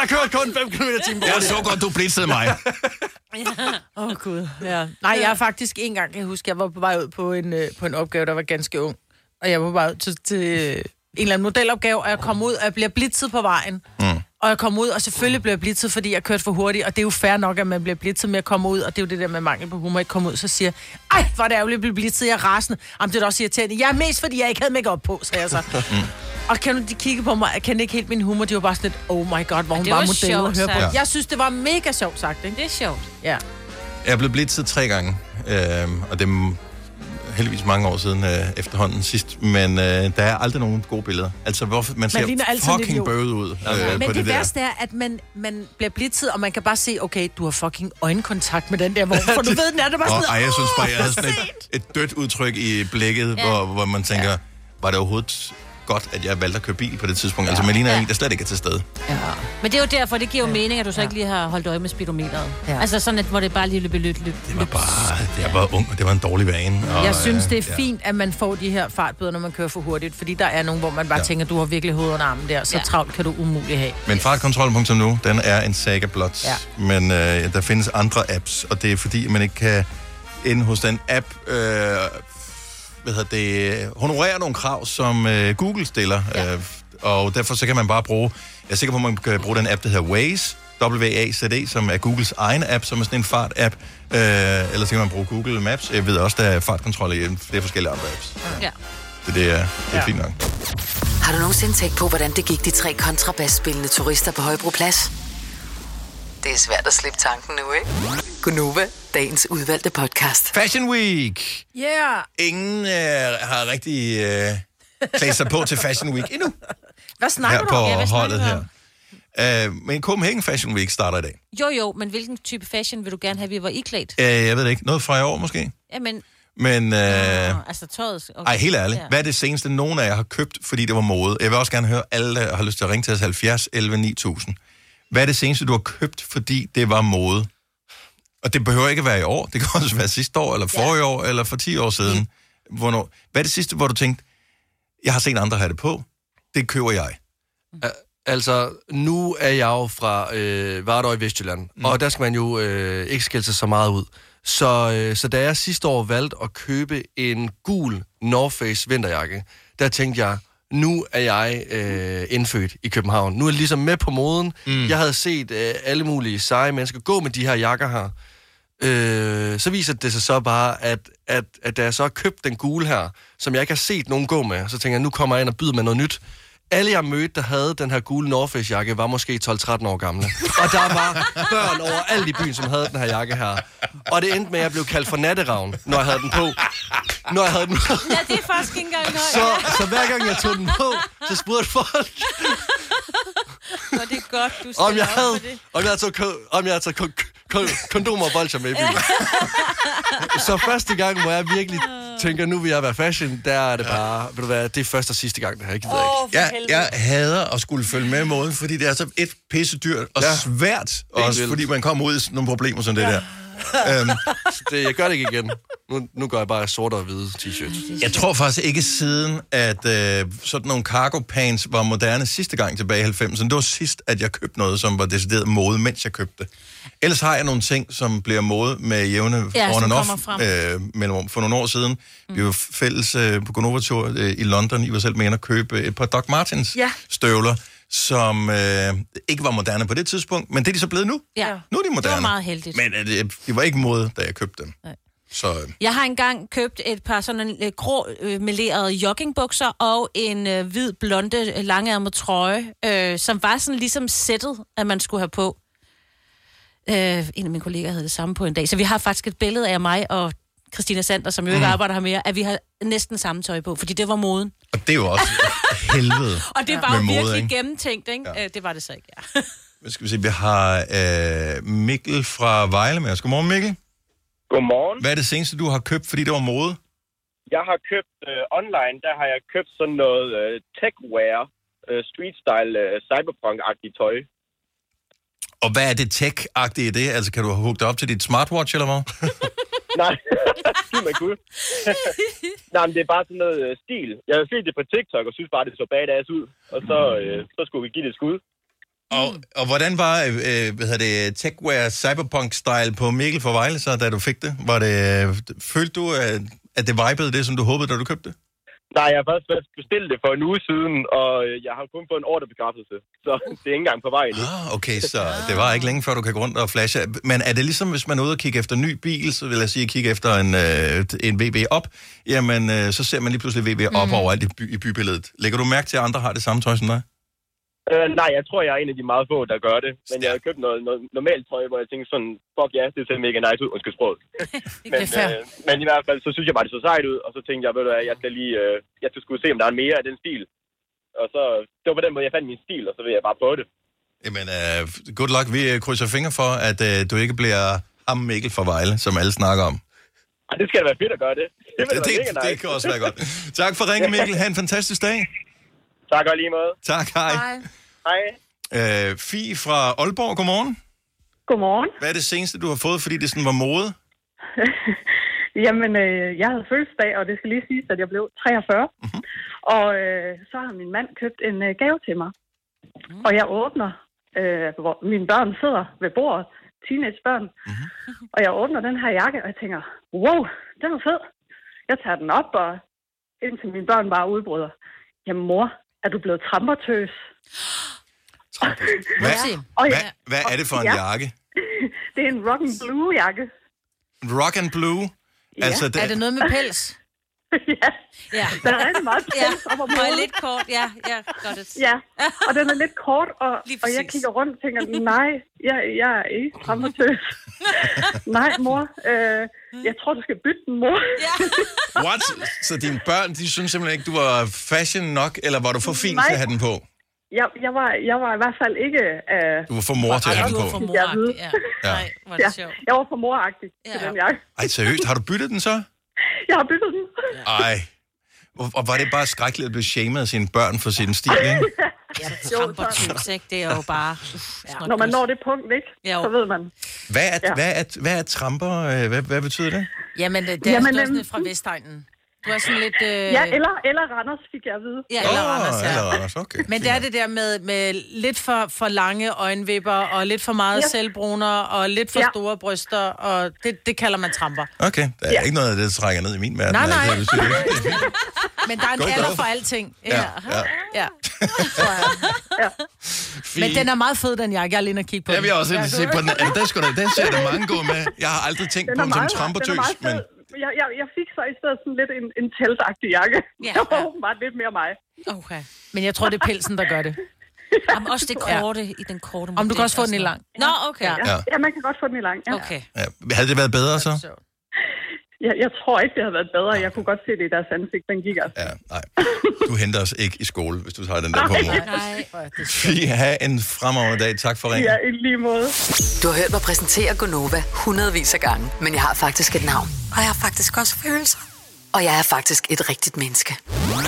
Speaker 4: Jeg kører kun 5 km i timen.
Speaker 1: Jeg så godt, du blitzede mig.
Speaker 2: Åh, oh, Gud. Ja. Nej, jeg er faktisk en gang, kan jeg huske, jeg var på vej ud på en, øh, på en opgave, der var ganske ung. Og jeg var på vej ud til, til øh, en eller anden modelopgave, og jeg kom ud, og jeg bliver blitzet på vejen. Mm. Og jeg kom ud, og selvfølgelig blev jeg blitzet, fordi jeg kørte for hurtigt. Og det er jo fair nok, at man bliver blitzet med at komme ud. Og det er jo det der med mangel på humor. Ikke komme ud, så siger jeg, ej, hvor er det ærgerligt, at blive blitzet. Jeg er rasende. Jamen, det er da også irriterende. Jeg er mest, fordi jeg ikke havde make på, sagde jeg så.
Speaker 1: Mm.
Speaker 2: Og kan du de kigge på mig? Jeg kendte ikke helt min humor. De var bare sådan lidt, oh my god, hvor hun
Speaker 3: det
Speaker 2: var,
Speaker 3: var
Speaker 2: model
Speaker 3: sjovt
Speaker 2: at høre på.
Speaker 1: sagt.
Speaker 2: Jeg synes, det var mega sjovt sagt, ikke?
Speaker 3: Det er sjovt.
Speaker 2: Ja.
Speaker 1: Jeg er blevet blitzet tre gange, øh, og det er m- heldigvis mange år siden øh, efterhånden sidst, men øh, der er aldrig nogen gode billeder. Altså, hvorfor, man, ser
Speaker 2: ligner altid en
Speaker 1: fucking
Speaker 2: idiot.
Speaker 1: bøvet ud øh,
Speaker 2: Men
Speaker 1: på
Speaker 2: det,
Speaker 1: det,
Speaker 2: det
Speaker 1: der.
Speaker 2: værste er, at man, man bliver blitzet, og man kan bare se, okay, du har fucking øjenkontakt med den der vogn, for du ved, den er der bare
Speaker 1: Åh,
Speaker 2: sådan
Speaker 1: ej, jeg synes bare, jeg havde
Speaker 2: "Åh,
Speaker 1: sådan et, et dødt udtryk i blikket,
Speaker 2: Ja.
Speaker 1: ja. hvor, hvor man tænker, ja. var det overhovedet godt, at jeg valgte at køre bil på det tidspunkt. Ja. Altså, man ligner ja. en, der slet ikke er til stede.
Speaker 3: Men det er jo derfor, det giver jo mening, at du så ikke lige har holdt øje med speedometeret. Ja. Altså sådan, at, hvor det bare lige løb løb løb.
Speaker 1: Det var bare, jeg var ung, og det var en dårlig vane. Og,
Speaker 2: Jeg synes, det er
Speaker 1: øh, ja.
Speaker 2: fint, at man får de her fartbøder, når man kører for hurtigt, fordi der er nogen, hvor man bare ja. tænker, du har virkelig hovedet under armen der, så ja. travlt kan du umuligt have.
Speaker 1: Men fartkontrol.nu, den er en saga blot.
Speaker 2: Ja.
Speaker 1: Men øh, der findes andre apps, og det er fordi, man ikke kan ind hos den app, øh, hvad hedder det, honorere nogle krav, som øh, Google stiller. Ja. Øh, og derfor så kan man bare bruge, jeg er sikker på, at man kan bruge den app, der hedder Waze, W-A-Z-E, E, som er Googles egen app, som er sådan en fart-app. Øh, ellers kan man bruge Google Maps. Jeg ved også, der er fartkontrol i flere forskellige andre apps.
Speaker 5: Ja.
Speaker 1: Så det er, det er
Speaker 5: Ja.
Speaker 1: ja. fint nok.
Speaker 5: Har du nogensinde tænkt på, hvordan det gik de tre kontrabasspillende turister på Højbroplads? Det er svært at slippe tanken nu, ikke? Gunova, dagens udvalgte podcast.
Speaker 1: Fashion Week!
Speaker 2: Yeah!
Speaker 1: Ingen øh, har rigtig øh, klædt sig på til Fashion Week endnu
Speaker 3: Hvad
Speaker 1: her på holdet her. Øh, men Copenhagen Fashion Week starter i dag.
Speaker 3: Jo, jo, men hvilken type fashion vil du gerne have, vi var iklædt?
Speaker 1: Øh, jeg ved det ikke. Noget fra i år måske?
Speaker 3: Jamen,
Speaker 1: Men, øh,
Speaker 3: altså tøjet...
Speaker 1: okay. ej, helt ærligt. Hvad er det seneste, nogen af jer har købt, fordi det var mode? Jeg vil også gerne høre alle, der har lyst til at ringe til os 70 11 9000. Hvad er det seneste, du har købt, fordi det var mode? Og det behøver ikke at være i år. Det kan også være sidste år, eller forrige år, eller for 10 år siden. Hvornår? Hvad er det sidste, hvor du tænkte, jeg har set andre have det på, det køber jeg?
Speaker 4: Altså, nu er jeg jo fra øh, Vardø i Vestjylland, mm. og der skal man jo øh, ikke skille sig så meget ud. Så, øh, så da jeg sidste år valgte at købe en gul North Face vinterjakke, der tænkte jeg, nu er jeg øh, indfødt i København. Nu er jeg ligesom med på moden. Mm. Jeg havde set øh, alle mulige seje mennesker gå med de her jakker her. Øh, så viser det sig så bare, at, at, at da jeg så har købt den gule her, som jeg ikke har set nogen gå med, så tænker jeg, nu kommer jeg ind og byder med noget nyt. Alle, jeg mødte, der havde den her gule North Face-jakke, var måske 12-13 år gamle. Og der var børn overalt i byen, som havde den her jakke her. Og det endte med, at jeg blev kaldt for natteravn, når jeg havde den på. Når jeg havde den på.
Speaker 3: Ja, det er faktisk ikke engang noget.
Speaker 4: Så, så hver gang jeg tog den på, så spurgte folk,
Speaker 3: Nå, det er godt, du
Speaker 4: om
Speaker 3: stiller
Speaker 4: jeg
Speaker 3: op
Speaker 4: havde,
Speaker 3: for det.
Speaker 4: om jeg havde taget, ko- om jeg havde taget kon- kon- kondomer og bolcher med i bilen. Så første gang, hvor jeg virkelig tænker, nu vil jeg være fashion, der er det bare, ved du hvad, det er første og sidste gang, det her, jeg gider ikke.
Speaker 1: jeg, jeg hader at skulle følge med i måden, fordi det er så et pisse dyrt og ja. svært, også
Speaker 4: vildt.
Speaker 1: fordi man kommer ud i sådan nogle problemer som det ja. der. Øhm,
Speaker 4: det, jeg gør det ikke igen. Nu, nu gør jeg bare sort og hvide t-shirts.
Speaker 1: Jeg tror faktisk ikke siden, at øh, sådan nogle cargo pants var moderne sidste gang tilbage i 90'erne. Det var sidst, at jeg købte noget, som var decideret mode, mens jeg købte det. Ellers har jeg nogle ting, som bliver mode med jævne
Speaker 14: Ja,
Speaker 1: ja, on
Speaker 14: som
Speaker 1: and off
Speaker 14: kommer frem.
Speaker 1: øh, mellemrum. For nogle år siden, mm. vi var fælles øh, på Gonova-tur øh, i London. I var selv med ind og købe et par Doc Martens
Speaker 2: Ja.
Speaker 1: støvler, som øh, ikke var moderne på det tidspunkt, men det er de så blevet nu.
Speaker 3: Ja.
Speaker 1: Nu er de moderne.
Speaker 3: Det var meget heldigt.
Speaker 1: Men øh, det, det var ikke mode, da jeg købte dem. Nej. Så øh,
Speaker 3: Jeg har engang købt et par sådan øh, grå øh, melerede joggingbukser og en øh, hvid blonde øh, langærmet trøje, øh, som var sådan ligesom sættet, at man skulle have på. Øh, en af mine kolleger havde det samme på en dag. Så vi har faktisk et billede af mig og Christina Sander, som jo ikke
Speaker 1: Mm.
Speaker 3: arbejder her mere, at vi har næsten samme tøj på, fordi det var moden.
Speaker 1: og det er jo også helvede
Speaker 3: Og det var jo
Speaker 1: med mode,
Speaker 3: virkelig
Speaker 1: ikke?
Speaker 3: gennemtænkt, ikke? Ja. Øh, det var det så ikke, ja.
Speaker 1: Hvad skal vi se? Vi har øh, Mikkel fra Vejle med os. Godmorgen, Mikkel.
Speaker 15: Godmorgen.
Speaker 1: Hvad er det seneste, du har købt, fordi det var mode?
Speaker 15: Jeg har købt øh, online, der har jeg købt sådan noget øh, techwear, øh, street-style, øh, cyberpunk-agtigt tøj.
Speaker 1: Og hvad er det tech-agtige i det? Altså, kan du have hugget op til dit smartwatch, eller hvad?
Speaker 3: Mm.
Speaker 15: Nej, skyld mig gud. Nej, men det er bare sådan noget øh, stil. Jeg har set det på TikTok og synes bare, det så badass ud. Og så, øh, så skulle vi give det et skud.
Speaker 1: Og, og hvordan var øh, øh, hvad hedder det, techwear cyberpunk-style på Mikkel fra Vejle, så, da du fik det? Var det øh, følte du, øh, at det vibede det, som du håbede, da du købte det?
Speaker 15: Nej, jeg har faktisk først bestilt det for en uge siden, og øh, jeg har kun fået en ordrebekræftelse. Så det er ikke engang på vej endnu.
Speaker 1: Ah, Okay, så det var ikke længe før, du kan gå rundt og flashe. Men er det ligesom, hvis man er ude og kigge efter en ny bil, så vil jeg sige, kigge efter en, øh, en VB op, jamen øh, så ser man lige pludselig VB op mm. overalt i, by, i bybilledet. Lægger du mærke til, at andre har det samme tøj som dig?
Speaker 15: Øh, nej, jeg tror, jeg er en af de meget få, der gør det. Men jeg har købt noget, noget normalt tøj, hvor jeg tænkte sådan, fuck ja, det ser mega nice ud. Undskyld sproget. men,
Speaker 16: er fair.
Speaker 15: øh, men i hvert fald, så synes jeg bare, det så sejt ud. Og så tænkte jeg, ved du hvad, jeg skal lige, øh, jeg skal skulle se, om der er mere af den stil. Og så, det var på den måde, jeg fandt min stil, og så vil jeg bare prøve det.
Speaker 1: Jamen, øh, good luck. Vi øh, krydser fingre for, at øh, du ikke bliver ham Mikkel fra Vejle, som alle snakker om.
Speaker 15: Og det skal da være fedt at gøre det. Det, vil da
Speaker 1: Det,
Speaker 15: være mega
Speaker 1: det,
Speaker 15: nice.
Speaker 1: det kan også være godt. Tak for ringen, Mikkel. Ha' en fantastisk dag.
Speaker 15: Tak og i lige måde.
Speaker 1: Tak, hej.
Speaker 15: Hej.
Speaker 1: Øh, Fie fra Aalborg, godmorgen.
Speaker 17: Godmorgen.
Speaker 1: Hvad er det seneste, du har fået, fordi det sådan var mode?
Speaker 17: Jamen, øh, jeg havde fødselsdag, og det skal lige siges, at jeg blev 43.
Speaker 2: Mhm.
Speaker 17: Mm-hmm. Og øh, så har min mand købt en øh, gave til mig. Mm. Og jeg åbner, øh, hvor mine børn sidder ved bordet, teenagebørn. Mm-hmm.
Speaker 2: Mhm.
Speaker 17: Og jeg åbner den her jakke, og jeg tænker, wow, den er fed. Jeg tager den op, og indtil mine børn bare udbryder. Jamen mor, er du blevet trampertøs?
Speaker 1: Hvad,
Speaker 17: Ja.
Speaker 1: hvad,
Speaker 17: Og ja.
Speaker 1: hvad, hvad er det for en
Speaker 17: Ja.
Speaker 1: jakke?
Speaker 17: Det er en rock and blue jakke.
Speaker 1: Rock and Blue? Altså, det,
Speaker 2: Er det noget med pels?
Speaker 3: Ja.
Speaker 17: Der er rigtig meget
Speaker 3: ja.
Speaker 17: pels op om
Speaker 3: Og
Speaker 17: hovedet.
Speaker 3: lidt kort, ja. ja got it.
Speaker 17: Ja, og den er lidt kort, og, og jeg
Speaker 3: præcis.
Speaker 17: kigger rundt og tænker, nej, jeg, jeg er ikke trampertøs. nej, mor, øh, jeg tror, du skal bytte den, mor.
Speaker 1: What? Så dine børn, de synes simpelthen ikke, du var fashion nok, eller var du for fin
Speaker 17: Nej.
Speaker 1: til at have den på?
Speaker 17: Jeg, jeg, var, jeg var i hvert fald ikke... Øh,
Speaker 1: Du var for mor til at have den på.
Speaker 17: ja.
Speaker 1: Ja.
Speaker 17: Hvor er det sjovt. Jeg var for moragtig ja. til den jakke.
Speaker 1: Ej, seriøst, har du byttet den så?
Speaker 17: Jeg har byttet den.
Speaker 1: Ej. Og- Og var det bare skrækkeligt at blive shamed af sine børn for sin stil, ikke?
Speaker 3: Ja, trampertøs, ikke? Det er jo bare... Uff, ja.
Speaker 17: Når man når det punkt, ikke?
Speaker 3: Jo.
Speaker 17: Så ved man.
Speaker 1: Hvad er,
Speaker 17: Ja.
Speaker 1: ja. hvad er, hvad er tramper? øh, Hvad, hvad betyder det?
Speaker 2: Jamen,
Speaker 3: øh,
Speaker 2: det det er
Speaker 17: Jamen,
Speaker 2: Jamen, sådan
Speaker 17: øhm,
Speaker 2: lidt fra Vestegnen. Du er sådan lidt... Øh...
Speaker 17: Ja, eller, eller Randers, fik jeg at vide.
Speaker 2: Ja, eller
Speaker 1: Åh,
Speaker 2: Randers, ja.
Speaker 1: eller Randers, okay.
Speaker 2: Men det er det der med, med lidt for, for lange øjenvipper, og lidt for meget
Speaker 17: Ja.
Speaker 2: ja. selvbruner, og lidt for ja. store bryster, og det, det kalder man tramper.
Speaker 1: Okay, der er ja. ikke noget af det, der trækker ned i min verden.
Speaker 2: Nej,
Speaker 1: altså,
Speaker 2: nej.
Speaker 1: det betyder ikke.
Speaker 2: Men der er en
Speaker 1: Godt
Speaker 2: alder
Speaker 1: gået.
Speaker 2: for alting.
Speaker 1: Ja, ja.
Speaker 2: ja.
Speaker 1: Fint.
Speaker 2: Men den er meget fed, den jakke. Jeg er lige inde og kigge på
Speaker 1: Jeg vil
Speaker 2: den.
Speaker 1: også
Speaker 2: Ja.
Speaker 1: ikke se på den. Altså, den, skulle, da- den ser der mange gå med. Jeg har aldrig tænkt på den som trampertøs, men...
Speaker 17: men... Jeg, jeg, jeg fik så i stedet sådan lidt en, en teltagtig jakke.
Speaker 2: Ja.
Speaker 17: Ja. Det var åbenbart lidt mere mig.
Speaker 2: Okay. Men jeg tror, det er pelsen, der gør det.
Speaker 3: Jamen, også det korte i den korte
Speaker 2: Om du kan også få den i lang.
Speaker 3: Nå, okay. Ja.
Speaker 1: Ja.
Speaker 17: Ja, man kan godt få den i lang. Ja.
Speaker 3: Okay.
Speaker 1: Ja, havde det været bedre så?
Speaker 17: Jeg, jeg tror ikke, det havde været bedre. Jeg kunne godt se det i deres ansigt. Den gik altså.
Speaker 1: Ja, nej. Du henter os ikke i skole, hvis du tager den der på mor.
Speaker 2: Nej.
Speaker 1: Fie, have en fremragende dag. Tak for ringen.
Speaker 17: Ja, i lige måde.
Speaker 5: Du har hørt mig præsentere Gonova hundredvis af gange, men jeg har faktisk et navn. Og jeg har faktisk også følelser. Og jeg er faktisk et rigtigt menneske.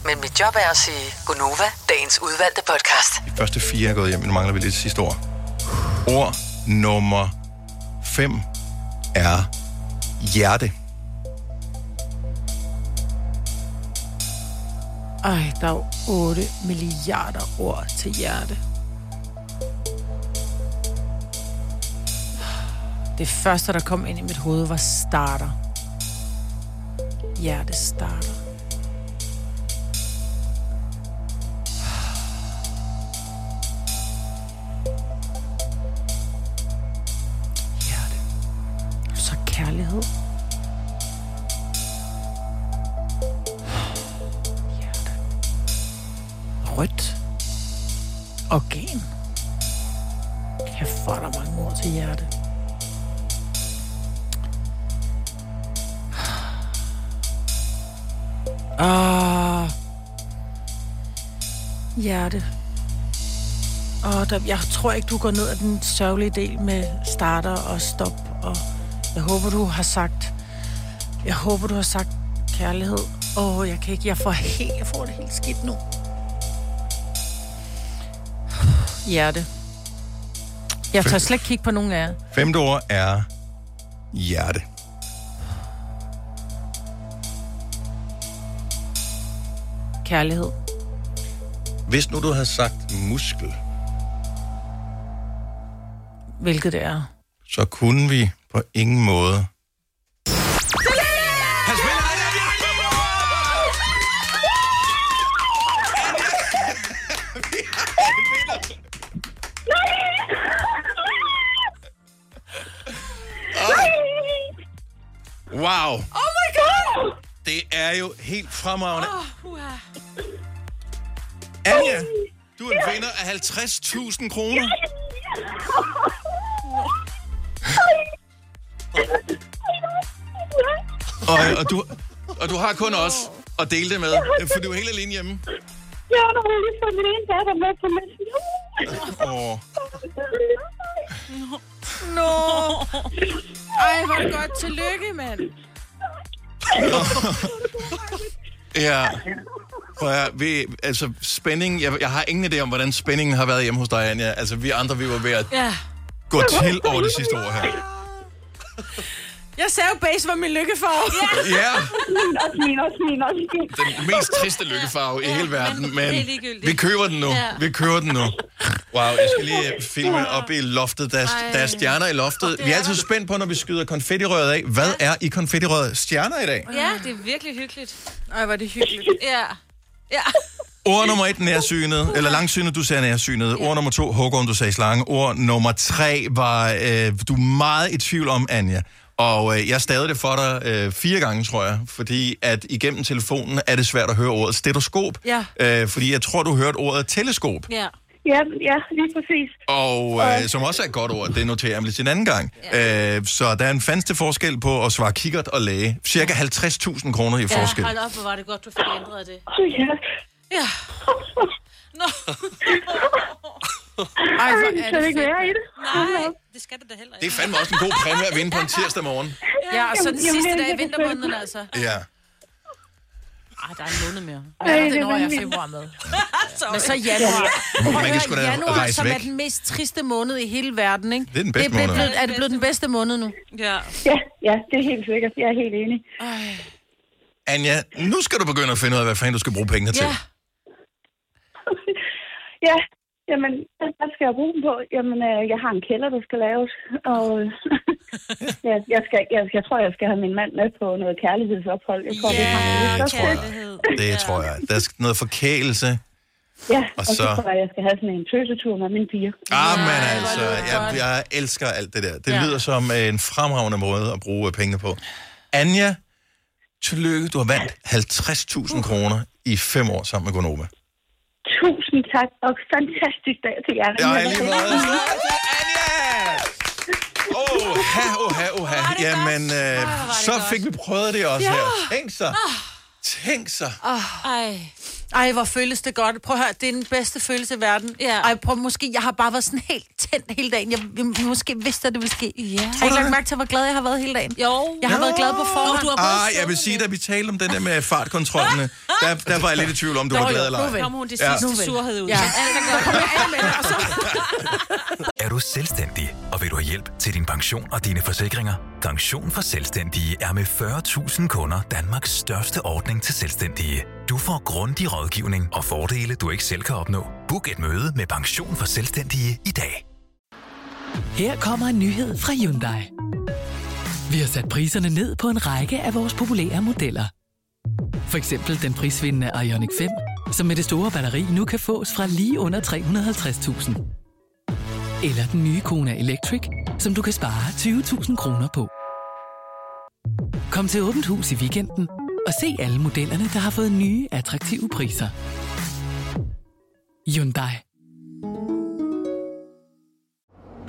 Speaker 5: Men mit job er at sige Gonova, dagens udvalgte podcast.
Speaker 1: De første fire er gået hjem, men nu mangler vi lidt sidste ord. Ord nummer 5 er hjerte.
Speaker 2: Ej, der er jo 8 milliarder ord til hjerte. Det første, der kom ind i mit hoved, var starter. Hjerte starter. Hjerte. Så kærlighed. rødt organ. Kæft, hvor er der mange ord til hjerte. Ah. Hjerte. Og der, jeg tror ikke, du går ned ad den sørgelige del med starter og stop. Og jeg håber, du har sagt... Jeg håber, du har sagt kærlighed. Åh, oh, jeg kan ikke... Jeg får, helt, jeg får det helt skidt nu. Hjerte. Jeg tør slet ikke kigge på nogen af jer.
Speaker 1: Femte ord er hjerte.
Speaker 2: Kærlighed.
Speaker 1: Hvis nu du havde sagt muskel,
Speaker 2: Hvilket det er.
Speaker 1: så kunne vi på ingen måde... Wow!
Speaker 3: Oh my god!
Speaker 1: Det er jo helt fremragende.
Speaker 3: Oh, uh.
Speaker 1: Anja, du er en vinder af 50.000 kroner. Og, og, du, og du har kun os at dele det med, for du er helt alene hjemme.
Speaker 18: Ja, der var lige fået min ene datter med på messen.
Speaker 1: Åh,
Speaker 2: Nå! Ej, hvor er det godt. Tillykke, mand.
Speaker 1: ja. Prøv at, høre, vi, altså spænding, jeg, jeg har ingen idé om, hvordan spændingen har været hjemme hos dig, Anja. Altså, vi andre, vi var ved at
Speaker 2: Ja.
Speaker 1: gå til over det sidste år her.
Speaker 2: Jeg sagde jo, base var min lykkefarve.
Speaker 1: Ja.
Speaker 16: Min også, min også, min også.
Speaker 1: Den mest triste lykkefarve i hele verden, men
Speaker 16: det er ligegyldigt.
Speaker 1: vi køber den nu.
Speaker 16: Ja.
Speaker 1: Vi køber den nu. Wow, jeg skal lige øh, filme op i loftet. Der er,
Speaker 16: Ej.
Speaker 1: der er stjerner i loftet. Vi er altid spændt på, når vi skyder konfettirøret af. Hvad er i konfettirøret? Stjerner i dag.
Speaker 3: Ja, det er virkelig hyggeligt.
Speaker 2: Ej, var det hyggeligt.
Speaker 3: Ja. Ja.
Speaker 1: Ord nummer et, nærsynet. Eller langsynet, du sagde nærsynet. Ord nummer to, hugorm, du sagde slange. Ord nummer tre var, øh, du er meget i tvivl om, Anja. Og øh, jeg stavede det for dig øh, fire gange, tror jeg. Fordi at igennem telefonen er det svært at høre ordet stetoskop.
Speaker 16: Ja.
Speaker 1: Øh, fordi jeg tror, du hørte ordet teleskop.
Speaker 3: Ja.
Speaker 16: Ja, ja, lige præcis.
Speaker 1: Og øh, som også er et godt ord, det noterer jeg mig lige til en anden gang. Øh, så der er en fandste forskel på at svare kikkert og læge. Cirka 50.000 kroner i forskel.
Speaker 3: Ja, hold op, hvor var det godt, du fik ændret det.
Speaker 16: ja.
Speaker 3: Ja. Nå.
Speaker 16: Ej, hvor er det Skal det ikke fedt, være i det?
Speaker 3: Nej, det skal det da heller ikke.
Speaker 1: Det er fandme også en god præmie at vinde på en tirsdag morgen.
Speaker 2: Ja, og så den
Speaker 16: Jamen,
Speaker 2: sidste
Speaker 16: jamen,
Speaker 2: dag
Speaker 16: det
Speaker 2: i
Speaker 16: er
Speaker 2: vintermåneden,
Speaker 16: selvfølgelig.
Speaker 2: altså.
Speaker 1: Ja.
Speaker 3: Ej, der er en måned mere.
Speaker 2: Ja,
Speaker 16: Ej, det
Speaker 2: det
Speaker 16: er
Speaker 2: når jeg
Speaker 16: vanvittigt.
Speaker 2: februar med. Men så januar.
Speaker 1: Man
Speaker 2: Prøv at
Speaker 1: kan
Speaker 2: høre,
Speaker 1: sgu da
Speaker 2: januar,
Speaker 1: rejse
Speaker 2: som er
Speaker 1: væk.
Speaker 2: den mest triste måned i hele verden, ikke?
Speaker 1: Det er den bedste
Speaker 2: blevet-
Speaker 1: måned.
Speaker 2: Er det blevet den bedste måned nu?
Speaker 3: Ja.
Speaker 16: Ja, ja, det er helt sikkert. Jeg er helt enig.
Speaker 1: Anja, nu skal du begynde at finde ud af, hvad fanden du skal bruge pengene til.
Speaker 16: Ja. Ja, jamen, hvad hvad skal jeg bruge dem på? Jamen, øh, jeg har en kælder, der skal laves, og øh, ja, jeg, skal, jeg, jeg tror, jeg skal have min mand med på noget kærlighedsophold. Jeg tror, vi har det. Så fedt.
Speaker 1: Det tror jeg. Der skal noget forkælelse.
Speaker 16: Ja,
Speaker 1: Og
Speaker 16: og så
Speaker 1: så-
Speaker 16: tror jeg, jeg skal have sådan en tøsetur med mine piger.
Speaker 1: Ah, men altså, jeg, jeg elsker alt det der. Det
Speaker 16: Ja.
Speaker 1: lyder som øh, en fremragende måde at bruge øh, pengene på. Anja, tillykke. Du har vandt
Speaker 16: Uh.
Speaker 1: 50.000 kroner i fem år sammen med Gonova.
Speaker 16: Tusind tak, og fantastisk dag til jer.
Speaker 1: Ja, lige meget. Oha, oha, oha. Jamen, øh, så fik vi prøvet det også
Speaker 2: Ja.
Speaker 1: her. Tænk så. Tænk så.
Speaker 2: Oh. Ej. Ej, hvor føles det godt. Prøv at høre, det er den bedste følelse i verden. Ja. Ej, prøv, måske, jeg har bare været sådan helt tændt hele dagen. Jeg, jeg måske vidste, at det ville ske. Ja. Har I ikke lagt mærke til, hvor glad jeg har været hele dagen?
Speaker 3: Jo.
Speaker 2: Jeg har været glad på forhånd.
Speaker 1: Ah, jeg vil sige, da vi talte om den der med fartkontrollerne, der, der var jeg lidt i tvivl om, du
Speaker 3: Nå,
Speaker 1: var
Speaker 3: jo,
Speaker 1: glad eller
Speaker 3: nu vel. Kom hun det sidste surhed ud.
Speaker 2: Ja.
Speaker 3: Så kom jeg af med det, og så...
Speaker 19: Er du selvstændig, og vil du have hjælp til din pension og dine forsikringer? Pension for Selvstændige er med 40.000 kunder Danmarks største ordning til selvstændige. Du får grundig rådgivning og fordele, du ikke selv kan opnå. Book et møde med Pension for Selvstændige i dag.
Speaker 20: Her kommer en nyhed fra Hyundai. Vi har sat priserne ned på en række af vores populære modeller. For eksempel den prisvindende Ioniq 5, som med det store batteri nu kan fås fra lige under 350.000. Eller den nye Kona Electric, som du kan spare 20.000 kroner på. Kom til Åbent Hus i weekenden og se alle modellerne, der har fået nye, attraktive priser. Hyundai.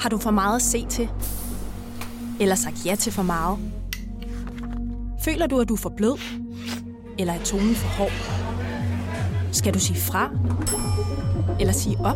Speaker 11: Har du for meget at se til? Eller sagt ja til for meget? Føler du, at du er for blød? Eller er tonen for hård? Skal du sige fra? Eller sige op?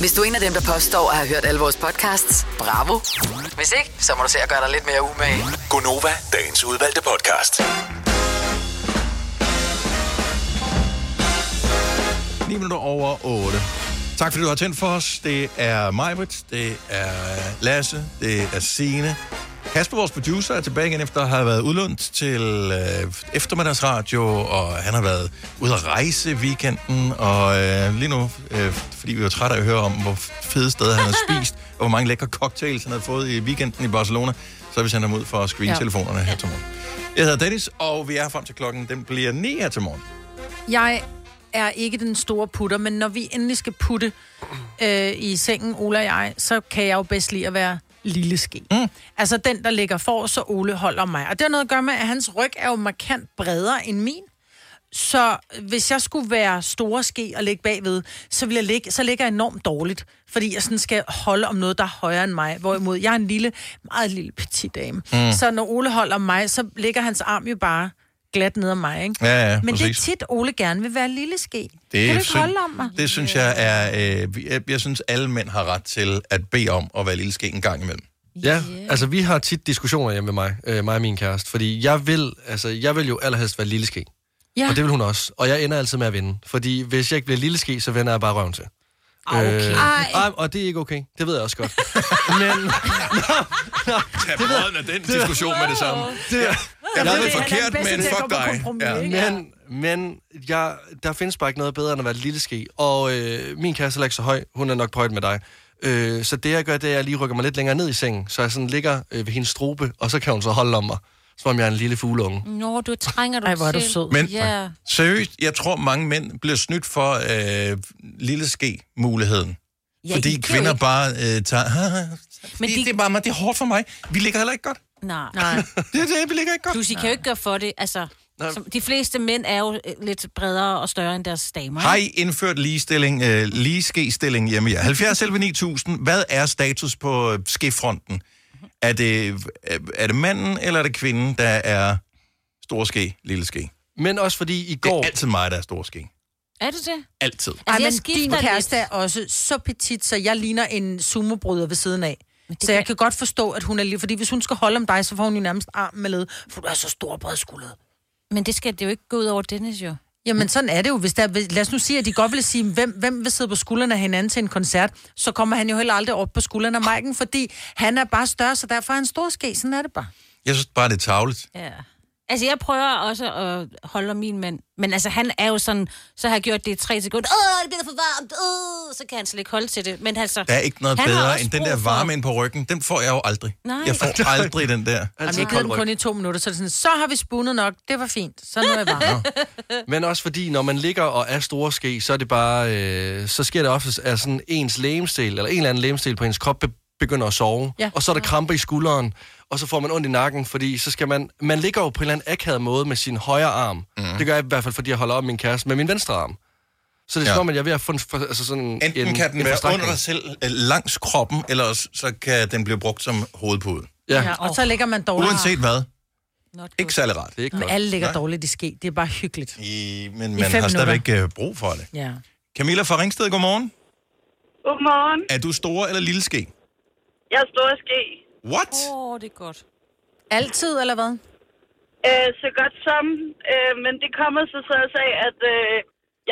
Speaker 5: Hvis du er en af dem, der påstår at have hørt alle vores podcasts, bravo. Hvis ikke, så må du se at gøre dig lidt mere umage.
Speaker 7: Gonova, dagens udvalgte podcast.
Speaker 1: 9 minutter over 8. Tak fordi du har tændt for os. Det er Majbrit, det er Lasse, det er Sine. Kasper, vores producer, er tilbage igen efter at have været udlånt til øh, eftermiddagsradio, og han har været ude at rejse i weekenden, og øh, lige nu, øh, fordi vi var trætte af at høre om, hvor fede steder han havde spist, og hvor mange lækre cocktails han havde fået i weekenden i Barcelona, så har vi sendt ham ud for at screene
Speaker 2: Ja.
Speaker 1: telefonerne her til morgen. Jeg hedder Dennis, og vi er frem til klokken, den bliver 9 her til morgen.
Speaker 2: Jeg er ikke den store putter, men når vi endelig skal putte øh, i sengen, Ola og jeg, så kan jeg jo bedst lide at være lille ske. Mm. Altså den, der ligger for, så Ole holder mig. Og det har noget at gøre med, at hans ryg er jo markant bredere end min. Så hvis jeg skulle være store ske og ligge bagved, så, vil jeg ligge, så ligger jeg enormt dårligt, fordi jeg sådan skal holde om noget, der er højere end mig. Hvorimod jeg er en lille, meget lille petit dame.
Speaker 1: Mm.
Speaker 2: Mm. Så når Ole holder om mig, så ligger hans arm jo bare glat ned om mig. Ikke?
Speaker 1: Ja, ja,
Speaker 2: Men
Speaker 1: præcis.
Speaker 2: det er tit, Ole gerne vil være lille ske.
Speaker 1: Det
Speaker 2: kan du
Speaker 1: syn-
Speaker 2: ikke holde om mig?
Speaker 1: Det synes jeg er... Øh, jeg, jeg synes, alle mænd har ret til at bede om at være lille ske en gang imellem.
Speaker 4: Ja, yeah. altså vi har tit diskussioner hjemme med mig, øh, mig og min kæreste, fordi jeg vil, altså, jeg vil jo allerhelst være lille ske.
Speaker 2: Ja.
Speaker 4: Og det vil hun også. Og jeg ender altid med at vinde. Fordi hvis jeg ikke bliver lille ske, så vender jeg bare røven til.
Speaker 1: Ah,
Speaker 4: Øh,
Speaker 10: Okay.
Speaker 1: Øh,
Speaker 10: Ej.
Speaker 4: ej, og det er ikke okay. Det ved jeg også godt. Men...
Speaker 1: Tag brøden af den diskussion med det samme.
Speaker 4: Det,
Speaker 1: Jeg- jeg ved det forkert, men fuck dig. Ja.
Speaker 4: Ja. Men, men jeg, der findes bare ikke noget bedre end at være et lille ske. Og øh, min kæreste er heller ikke så høj. Hun er nok på højde med dig. Øh, så det, jeg gør, det er, at jeg lige rykker mig lidt længere ned i sengen, så jeg sådan ligger øh, ved hendes strobe, og så kan hun så holde om mig, som om jeg er en lille fugleunge.
Speaker 3: Nå, du trænger du
Speaker 2: Ej, hvor er du
Speaker 3: til.
Speaker 2: sød.
Speaker 1: Men
Speaker 3: Ja.
Speaker 1: seriøst, jeg tror, mange mænd bliver snydt for øh, lille ske-muligheden.
Speaker 3: Ja,
Speaker 1: Ja,
Speaker 3: I
Speaker 1: fordi
Speaker 3: kan jo
Speaker 1: kvinder
Speaker 3: ikke-
Speaker 1: bare øh, tager... Men de... Det er bare mig, det er hårdt for mig. Vi ligger heller ikke godt.
Speaker 3: Nej. Nej.
Speaker 1: det er det, vi ligger ikke godt.
Speaker 3: Plus, I kan jo ikke gøre for det. Altså, som, de fleste mænd er jo øh, lidt bredere og større end deres damer.
Speaker 1: Har I
Speaker 3: ikke?
Speaker 1: indført ligestilling, øh, ligeske-stilling hjemme i jer? 70 selv 9000. Hvad er status på øh, skefronten? Er det, øh, er det manden, eller er det kvinden, der er stor ske, lille ske?
Speaker 4: Men også fordi i går...
Speaker 1: Det er altid mig, der er stor ske.
Speaker 3: Er du det?
Speaker 1: Altid.
Speaker 2: Altså, Ej,
Speaker 3: jeg
Speaker 2: men din
Speaker 3: skifter
Speaker 2: kæreste er også så petit, så jeg ligner en sumobryder ved siden af. Så jeg kan godt forstå, at hun er lige... Fordi hvis hun skal holde om dig, så får hun jo nærmest armen med led, for du er så stor og bredskuldet.
Speaker 3: Men det skal det jo ikke gå ud over Dennis, jo.
Speaker 2: Jamen, sådan er det jo. Hvis der, lad os nu sige, at de godt vil sige, hvem, hvem vil sidde på skuldrene af hinanden til en koncert, så kommer han jo heller aldrig op på skuldrene af Maiken, fordi han er bare større, så derfor er han stor ske. Sådan er det bare.
Speaker 1: Jeg synes bare, det er tavligt.
Speaker 3: Ja. Altså, jeg prøver også at holde om min mand. Men altså, han er jo sådan, så har jeg gjort det i tre sekunder. Åh, det bliver for varmt. Åh, så kan han slet ikke holde til det. Men altså,
Speaker 1: Der er ikke noget
Speaker 3: han har
Speaker 1: bedre
Speaker 3: også
Speaker 1: end den
Speaker 3: brug
Speaker 1: der
Speaker 3: for-
Speaker 1: varme ind på ryggen. Den får jeg jo aldrig.
Speaker 3: Nej.
Speaker 1: Jeg får aldrig den der.
Speaker 4: Altså,
Speaker 2: Jamen, jeg gider Altså, den kun i to minutter, så er det sådan, så har vi spundet nok, det var fint, så nu er jeg bare.
Speaker 4: Men også fordi, når man ligger og er store ske, så er det bare, øh, så sker det ofte, at sådan ens lægemstil, eller en eller anden lægemstil på ens krop, be- begynder at sove.
Speaker 2: Ja.
Speaker 4: Og så er der kramper i skulderen, og så får man ondt i nakken, fordi så skal man, man ligger jo på en eller anden akavet måde med sin højre arm. Mm.
Speaker 1: Mhm.
Speaker 4: Det gør jeg i hvert fald, fordi jeg holder op min kæreste med min venstre arm. Så det er
Speaker 1: Ja.
Speaker 4: som om, at jeg er ved at få en, for, altså sådan
Speaker 1: Enten
Speaker 4: en,
Speaker 1: kan den
Speaker 4: en
Speaker 1: være
Speaker 4: forstrækning.
Speaker 1: under dig selv øh, langs kroppen, eller også, så kan den blive brugt som hovedpude.
Speaker 4: Ja.
Speaker 2: Ja, og så ligger man dårligt.
Speaker 1: Uanset hvad. Ikke særlig rart. Det er
Speaker 2: Men alle ligger dårligt i ske. Det er bare hyggeligt.
Speaker 1: I, men
Speaker 2: I
Speaker 1: man
Speaker 2: fem
Speaker 1: har stadigvæk
Speaker 2: minutter.
Speaker 1: øh, brug for det.
Speaker 2: Ja.
Speaker 1: Camilla fra Ringsted, godmorgen.
Speaker 21: Godmorgen.
Speaker 1: Er du store eller lille ske?
Speaker 21: Jeg er stor ske.
Speaker 1: What?
Speaker 3: Åh, oh, det er godt.
Speaker 2: Altid, eller hvad?
Speaker 21: Øh, så godt som. Øh, men det kommer så så også af, at øh,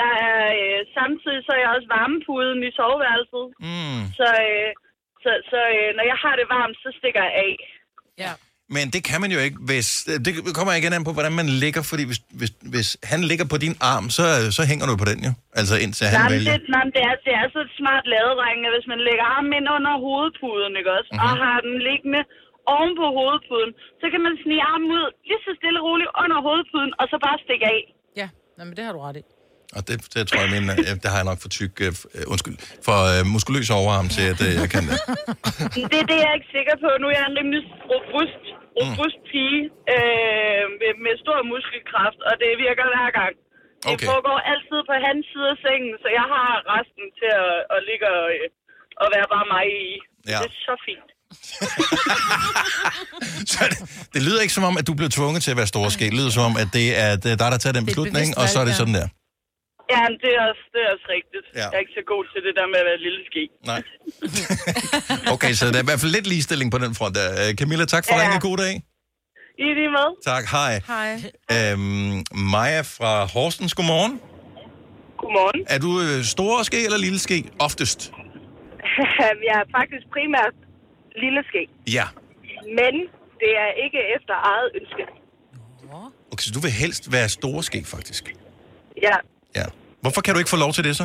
Speaker 21: jeg er, øh, samtidig så er jeg også varmepuden i soveværelset.
Speaker 1: Mm.
Speaker 21: Så, øh, så, så øh, når jeg har det varmt, så stikker jeg af.
Speaker 2: Ja.
Speaker 1: Men det kan man jo ikke, hvis... øh, Det kommer igen an på, hvordan man ligger, fordi hvis, hvis, hvis han ligger på din arm, så, øh, så hænger du på den jo. Altså indtil han
Speaker 21: Nej, men
Speaker 1: vælger.
Speaker 21: det, nej, men det, er, det er så et smart lavet, drenge, at hvis man lægger armen ind under hovedpuden, ikke også, mm-hmm. og
Speaker 1: Mhm.
Speaker 21: har den liggende oven på hovedpuden, så kan man snige armen ud lige så stille og roligt under hovedpuden, og så bare stikke af.
Speaker 2: Ja, Nå, men det har du ret i.
Speaker 1: Og det, det tror jeg, men, øh, det har jeg nok for tyk... øh, f- øh, Undskyld. For øh, muskuløs overarm til, at øh, jeg kan det.
Speaker 21: Men Det, det er jeg ikke sikker på. Nu er jeg en rimelig robust, robust
Speaker 1: Mm.
Speaker 21: pige øh, med, med stor muskelkraft, og det virker hver gang. Det
Speaker 1: Okay.
Speaker 21: foregår altid på hans side af sengen, så jeg har resten til at, at ligge og, øh, og være bare mig i.
Speaker 1: Ja.
Speaker 21: Det er så fint.
Speaker 1: Det lyder ikke som om, at du blev tvunget til at være stor ske. Det lyder som om, at det er øh, dig, der tager den
Speaker 21: Det er et bevidst
Speaker 1: beslutning, og så er det
Speaker 21: valg, ja.
Speaker 1: sådan der.
Speaker 21: Ja, men det er også, det er også rigtigt.
Speaker 1: Ja.
Speaker 21: Ja. Jeg er ikke så god til det der med at være lille ske.
Speaker 1: Nej. Okay, så der er i hvert fald lidt ligestilling på den front. der. Øh, Camilla, tak for
Speaker 21: Ja.
Speaker 1: ja. ringen. God dag.
Speaker 21: I er lige med.
Speaker 1: Tak, hej.
Speaker 2: Hej.
Speaker 1: Øhm, Maja fra Horsens, godmorgen.
Speaker 21: Godmorgen.
Speaker 1: Er du øh, store ske eller lille ske? Oftest.
Speaker 21: jeg er faktisk primært lille ske,
Speaker 1: Ja.
Speaker 21: men det er ikke efter eget ønske.
Speaker 1: Okay, så du vil helst være store ske, faktisk.
Speaker 21: Ja,
Speaker 1: Ja. Hvorfor kan du ikke få lov til det så?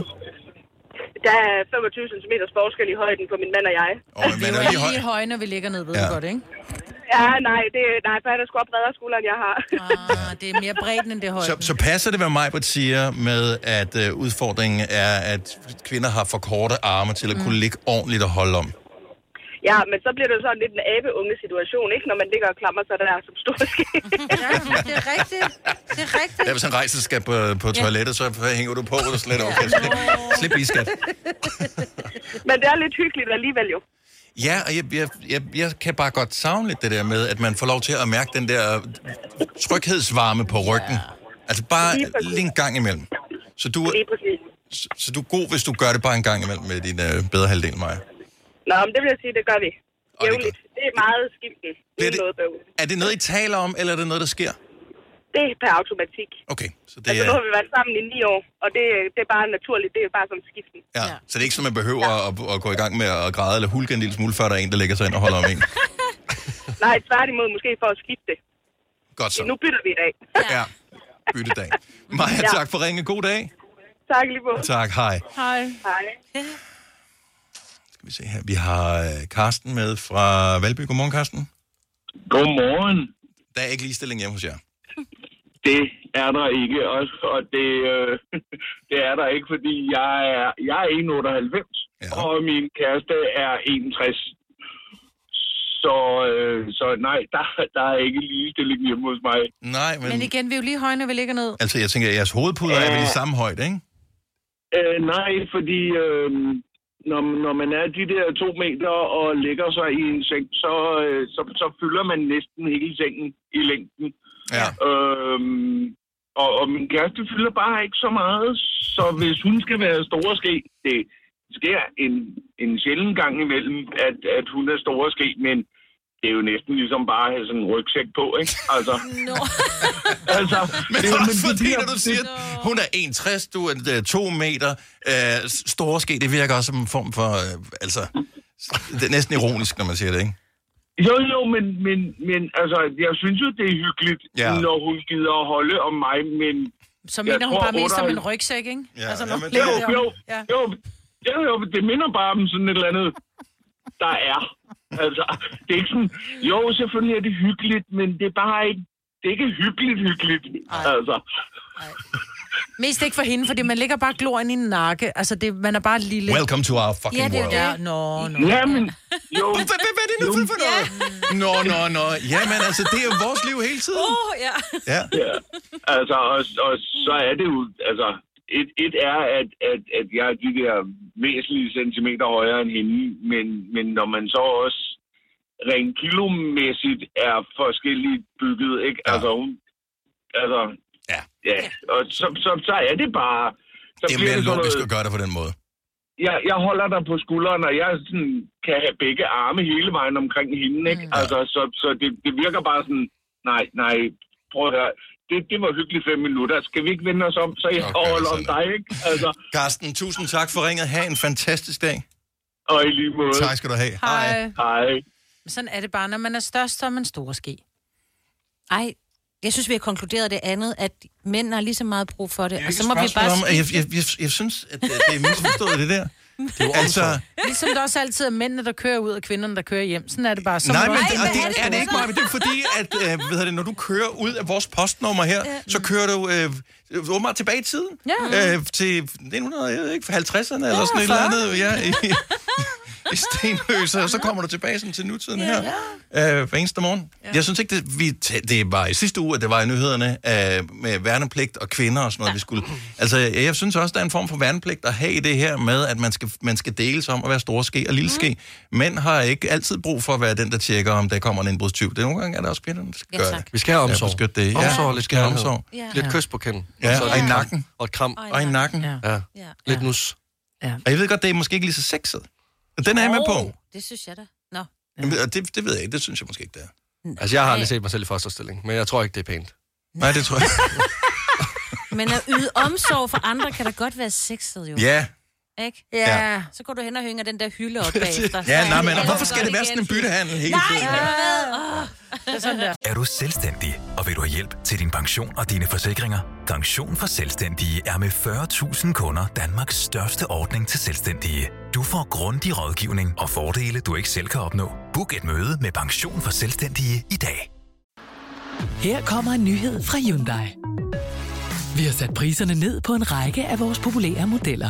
Speaker 21: der er 25 cm forskel i højden på min mand og jeg.
Speaker 1: Oh, men
Speaker 2: Det er lige, lige høje, når vi ligger ned, ved ja.
Speaker 1: Ja.
Speaker 2: du godt, ikke?
Speaker 21: Ja, nej, det, nej, for han er sgu op bredere skulder, end jeg har.
Speaker 2: Ah, det er mere bredden, end det er højden.
Speaker 1: Så, så passer det, hvad Majbert siger med, at øh, udfordringen er, at kvinder har for korte arme til at kunne ligge ordentligt og holde om.
Speaker 14: Ja, men så bliver det jo sådan lidt en abeunge-situation, ikke? Når man ligger og klamrer sig der som stor ske. ja, det er rigtigt. Det er rigtigt.
Speaker 1: Ja, hvis han rejser skal på, på
Speaker 14: Ja.
Speaker 1: toilettet, så hænger du på, og du slet okay. Slip, slip i, skat.
Speaker 14: Men det er lidt hyggeligt alligevel jo.
Speaker 1: Ja, og jeg, jeg, jeg, jeg kan bare godt savne lidt det der med, at man får lov til at mærke den der tryghedsvarme på ryggen. Altså bare
Speaker 14: Lige præcis.
Speaker 1: lige en gang imellem. Så du,
Speaker 14: Lige præcis.
Speaker 1: så, så du er god, hvis du gør det bare en gang imellem med din øh, bedre halvdel, Maja.
Speaker 14: Nå, men det vil jeg sige, det gør vi. Jævnligt. Det er meget skiften. Det er noget bøvl.
Speaker 1: Er det noget, I taler om, eller er det noget, der sker?
Speaker 14: Det er per automatik.
Speaker 1: Okay, så det,
Speaker 14: Altså, nu
Speaker 1: er,
Speaker 14: har vi været sammen i ni år, og det, det er bare naturligt. Det er bare sådan skiften.
Speaker 1: ja, så det er ikke sådan, man behøver at, at gå i gang med at græde eller hulke en lille smule, før der er en, der lægger sig ind og holder om en.
Speaker 14: Nej, tværtimod måske for at skifte.
Speaker 1: Godt så.
Speaker 14: Nu bytter vi i dag.
Speaker 1: Ja, byttedag. Maja,
Speaker 14: Ja.
Speaker 1: tak for ringe. God dag.
Speaker 14: Tak lige på.
Speaker 1: Tak, hej.
Speaker 2: Hej.
Speaker 14: Hej.
Speaker 1: Skal vi se her. Vi har øh, Karsten med fra Valby. Godmorgen, Karsten.
Speaker 22: Godmorgen.
Speaker 1: Der er ikke ligestilling hjemme hos jer.
Speaker 22: Det er der ikke, og, og det, øh, det er der ikke, fordi jeg er, jeg er 1,98, ja. og min kæreste er 61. Så, øh, så nej, der, der er ikke ligestilling hjemme hos mig.
Speaker 1: Nej,
Speaker 2: Men igen, vi er jo lige høje, når vi ligger ned.
Speaker 1: Altså, jeg tænker, at jeres hovedpuder er vel i samme højde, ikke?
Speaker 22: Øh, nej, fordi øh, når, når man er de der to meter og ligger sig i en seng, så, øh, så, så fylder man næsten hele sengen i længden.
Speaker 1: Ja.
Speaker 22: Øh, og, og min kæreste fylder bare ikke så meget, så hvis hun skal være store ske, det sker en, en sjælden gang imellem, at, at hun er store ske, men det er jo næsten ligesom bare at have sådan en rygsæk på, ikke? Altså,
Speaker 3: no.
Speaker 22: altså
Speaker 1: Men
Speaker 22: det er jo-
Speaker 1: også
Speaker 22: men de
Speaker 1: fordi,
Speaker 22: der-
Speaker 1: når du siger, at hun er 1,60, du er øh, 2 meter. Øh, store ske, det virker også som en form for... Øh, altså, det er næsten ironisk, når man siger det, ikke?
Speaker 22: Jo, jo, men, men, men altså, jeg synes jo, det er hyggeligt,
Speaker 1: Ja.
Speaker 22: ja. når hun gider at holde om mig, men...
Speaker 2: Så
Speaker 22: jeg
Speaker 2: mener hun
Speaker 22: tror,
Speaker 2: bare mest som en
Speaker 22: 98
Speaker 2: rygsæk, ikke? Altså,
Speaker 22: Ja,
Speaker 2: når
Speaker 22: jamen,
Speaker 2: hun
Speaker 22: det er
Speaker 2: ligger
Speaker 22: jo-
Speaker 2: deroppe.
Speaker 22: jo.
Speaker 2: Ja.
Speaker 22: Jo, jo, jo, det minder bare om sådan et eller andet, der er. Altså, det er ikke sådan... Jo, selvfølgelig er det hyggeligt, men det er bare ikke... Det er ikke hyggeligt, hyggeligt. Altså,
Speaker 2: Mest ikke for hende, fordi man ligger bare og glor ind i en nakke. Altså, det, man er bare lille.
Speaker 1: Welcome to our fucking
Speaker 2: ja, det er jo
Speaker 1: world.
Speaker 2: det. Nå, nå.
Speaker 22: Jamen, jo.
Speaker 1: Hvad, hvad, hvad er det nu for- for noget? Nå, nå, nå. Jamen, altså, det er jo vores liv hele tiden.
Speaker 3: Åh, ja.
Speaker 1: Ja.
Speaker 22: ja. Altså, og, og så er det jo, altså, et, et er, at, at, at jeg er de der væsentlige centimeter højere end hende, men, men når man så også rent kilomæssigt er forskelligt bygget, ikke? Ja. Altså, hun, altså,
Speaker 1: ja.
Speaker 22: ja. Og så, så, så er det bare... Så
Speaker 1: Det er
Speaker 22: bliver
Speaker 1: mere
Speaker 22: sådan
Speaker 1: logisk
Speaker 22: noget-
Speaker 1: at gøre det på den måde.
Speaker 22: jeg, jeg holder dig på skulderen, og jeg sådan, kan have begge arme hele vejen omkring hende, ikke? Mm. Altså, så, så det, det virker bare sådan, nej, nej, prøv at høre. Det, det var hyggeligt fem minutter. Skal vi ikke vende os om, så jeg okay, holder om dig, ikke? Altså,
Speaker 1: Karsten, tusind tak for ringet. Ha' en fantastisk dag.
Speaker 22: Og i lige måde.
Speaker 1: Tak skal du have.
Speaker 2: Hej.
Speaker 22: Hej.
Speaker 2: Men sådan er det bare, når man er størst, så er man stor ske.
Speaker 3: Ej, jeg synes, vi har konkluderet det andet, at mænd har lige så meget brug for det. Og så må vi
Speaker 1: Spørgsmålet
Speaker 3: bare...
Speaker 1: om, at jeg, jeg, jeg, jeg synes, at det det er misforstået, det der. Det er altså,
Speaker 2: Ligesom det også altid er mændene, der kører ud, og kvinderne, der kører hjem. Sådan er det bare. Så
Speaker 1: Nej,
Speaker 2: må
Speaker 1: men
Speaker 2: man-
Speaker 1: det, og det, er det ikke, Maja? Det er fordi, at øh, hvad hedder det, når du kører ud af vores postnummer her,
Speaker 2: Ja.
Speaker 1: så kører du øh, åbenbart tilbage i tiden.
Speaker 2: Ja.
Speaker 1: Øh, til 1900, jeg ved ikke, 50'erne eller
Speaker 2: Ja,
Speaker 1: sådan et eller
Speaker 2: 40'erne.
Speaker 1: andet. Ja, i, i Stenløse, og så kommer du tilbage sådan, til nutiden her. Øh, hver eneste morgen. Ja. Jeg synes ikke, det, vi, ta- det var i sidste uge, at det var i nyhederne øh, med værnepligt og kvinder og sådan noget, vi skulle. Altså, jeg, jeg synes også, der er en form for værnepligt at have i det her med, at man skal, man skal deles om at være store ske og
Speaker 4: Mhm.
Speaker 1: lille ske. Mænd har ikke altid brug for at være den, der tjekker, om der kommer en indbrudstyv. Det er nogle gange, er der også kvinderne, der skal
Speaker 4: Ja,
Speaker 1: gøre
Speaker 4: tak.
Speaker 1: det.
Speaker 4: Vi skal have omsorg.
Speaker 1: Ja, beskytte det.
Speaker 4: Omsorg og
Speaker 1: ja,
Speaker 4: lidt
Speaker 1: vi skal have
Speaker 4: kærlighed.
Speaker 1: omsorg.
Speaker 4: Ja. Lidt kys på kinden.
Speaker 1: Ja,
Speaker 4: Og så-
Speaker 1: og i nakken.
Speaker 4: Og et kram.
Speaker 1: Og i nakken.
Speaker 4: Ja. Lidt nus.
Speaker 2: Ja.
Speaker 1: Og jeg ved godt, det er måske ikke lige så sexet. Og Den er jeg med på.
Speaker 3: Det synes jeg da. Nå.
Speaker 1: Jamen, og Det, det ved jeg ikke. Det synes jeg måske ikke, det er.
Speaker 4: Altså, jeg har aldrig set mig selv i fosterstilling, men jeg tror ikke, det er pænt.
Speaker 1: Nej, det tror jeg
Speaker 3: Men at yde omsorg for andre kan da godt være sexet, jo.
Speaker 1: Ja.
Speaker 3: Ikke?
Speaker 1: Ja.
Speaker 3: Så går du hen og hænger den der hylde op bagefter.
Speaker 1: Ja, nej, men og hvorfor skal det være sådan en byttehandel hele
Speaker 3: Nej,
Speaker 1: tiden?
Speaker 2: Ah.
Speaker 3: hvad? Det er sådan der.
Speaker 19: Er du selvstændig, og vil du have hjælp til din pension og dine forsikringer? Pension for Selvstændige er med 40.000 kunder Danmarks største ordning til selvstændige. Du får grundig rådgivning og fordele, du ikke selv kan opnå. Book et møde med Pension for Selvstændige i dag.
Speaker 20: Her kommer en nyhed fra Hyundai. Vi har sat priserne ned på en række af vores populære modeller.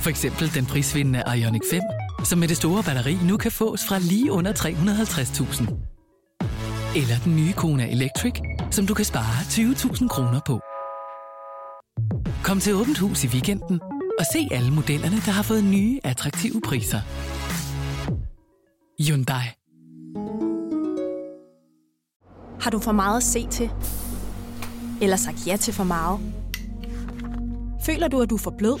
Speaker 20: For eksempel den prisvindende Ioniq 5, som med det store batteri nu kan fås fra lige under 350.000. Eller den nye Kona Electric, som du kan spare 20.000 kroner på. Kom til Åbent Hus i weekenden og se alle modellerne, der har fået nye, attraktive priser. Hyundai.
Speaker 11: Har du for meget at se til? Eller sagt ja til for meget? Føler du, at du er for blød?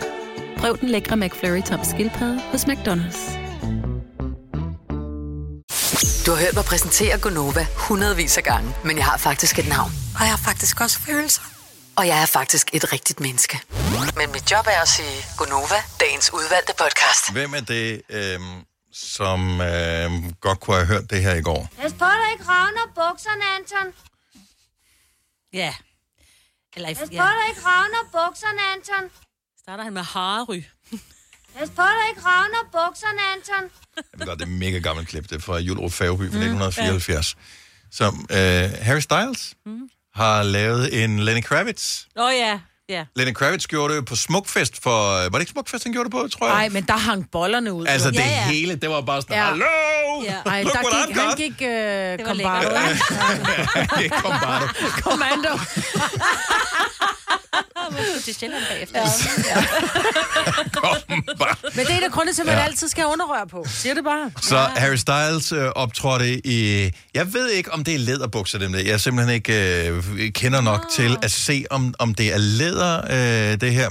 Speaker 13: Prøv den lækre McFlurry tom skildpadde hos McDonald's.
Speaker 5: Du har hørt mig præsentere Gonova hundredvis af gange, men jeg har faktisk et navn.
Speaker 23: Og jeg har faktisk også følelser.
Speaker 5: Og jeg er faktisk et rigtigt menneske. Men mit job er at sige Gonova, dagens udvalgte podcast.
Speaker 1: Hvem er det, øh, som øh, godt kunne have hørt det her i går?
Speaker 24: Pas på, du ikke ravner bukserne, Anton.
Speaker 3: Ja. Eller i...
Speaker 24: Pas på,
Speaker 3: Ja.
Speaker 24: du ikke ravner bukserne, Anton.
Speaker 3: Starter han med Harry.
Speaker 24: Pas på, du ikke ravner bukserne, Anton.
Speaker 1: Jeg ved godt, det er et mega gammelt klip. Det er fra Julrup Færgeby fra 1974. Som øh, Harry Styles har lavet en Lenny Kravitz.
Speaker 3: Åh oh, ja. Ja.
Speaker 1: Lenny Kravitz gjorde det på Smukfest for... øh, Var det ikke Smukfest, han gjorde det på, tror jeg?
Speaker 2: Nej, men der hang bollerne ud.
Speaker 1: Altså, det hele, det var bare sådan, hallo!
Speaker 2: Ja. Ej,
Speaker 1: Look
Speaker 2: der
Speaker 1: what
Speaker 2: gik,
Speaker 1: I've
Speaker 2: han
Speaker 1: got.
Speaker 2: gik øh,
Speaker 3: var
Speaker 2: kombado.
Speaker 1: Kom bare.
Speaker 2: Kommando.
Speaker 3: Måske til Sjælland bagefter.
Speaker 2: Men det er der grunde til, at man
Speaker 1: Ja.
Speaker 2: ja. altid skal have underrør på. Siger det bare.
Speaker 1: Så Harry Styles øh, optrådte i... Jeg ved ikke, om det er læderbukser, dem der. Jeg er simpelthen ikke øh, kender nok til at se, om, om det er læder, øh, det her.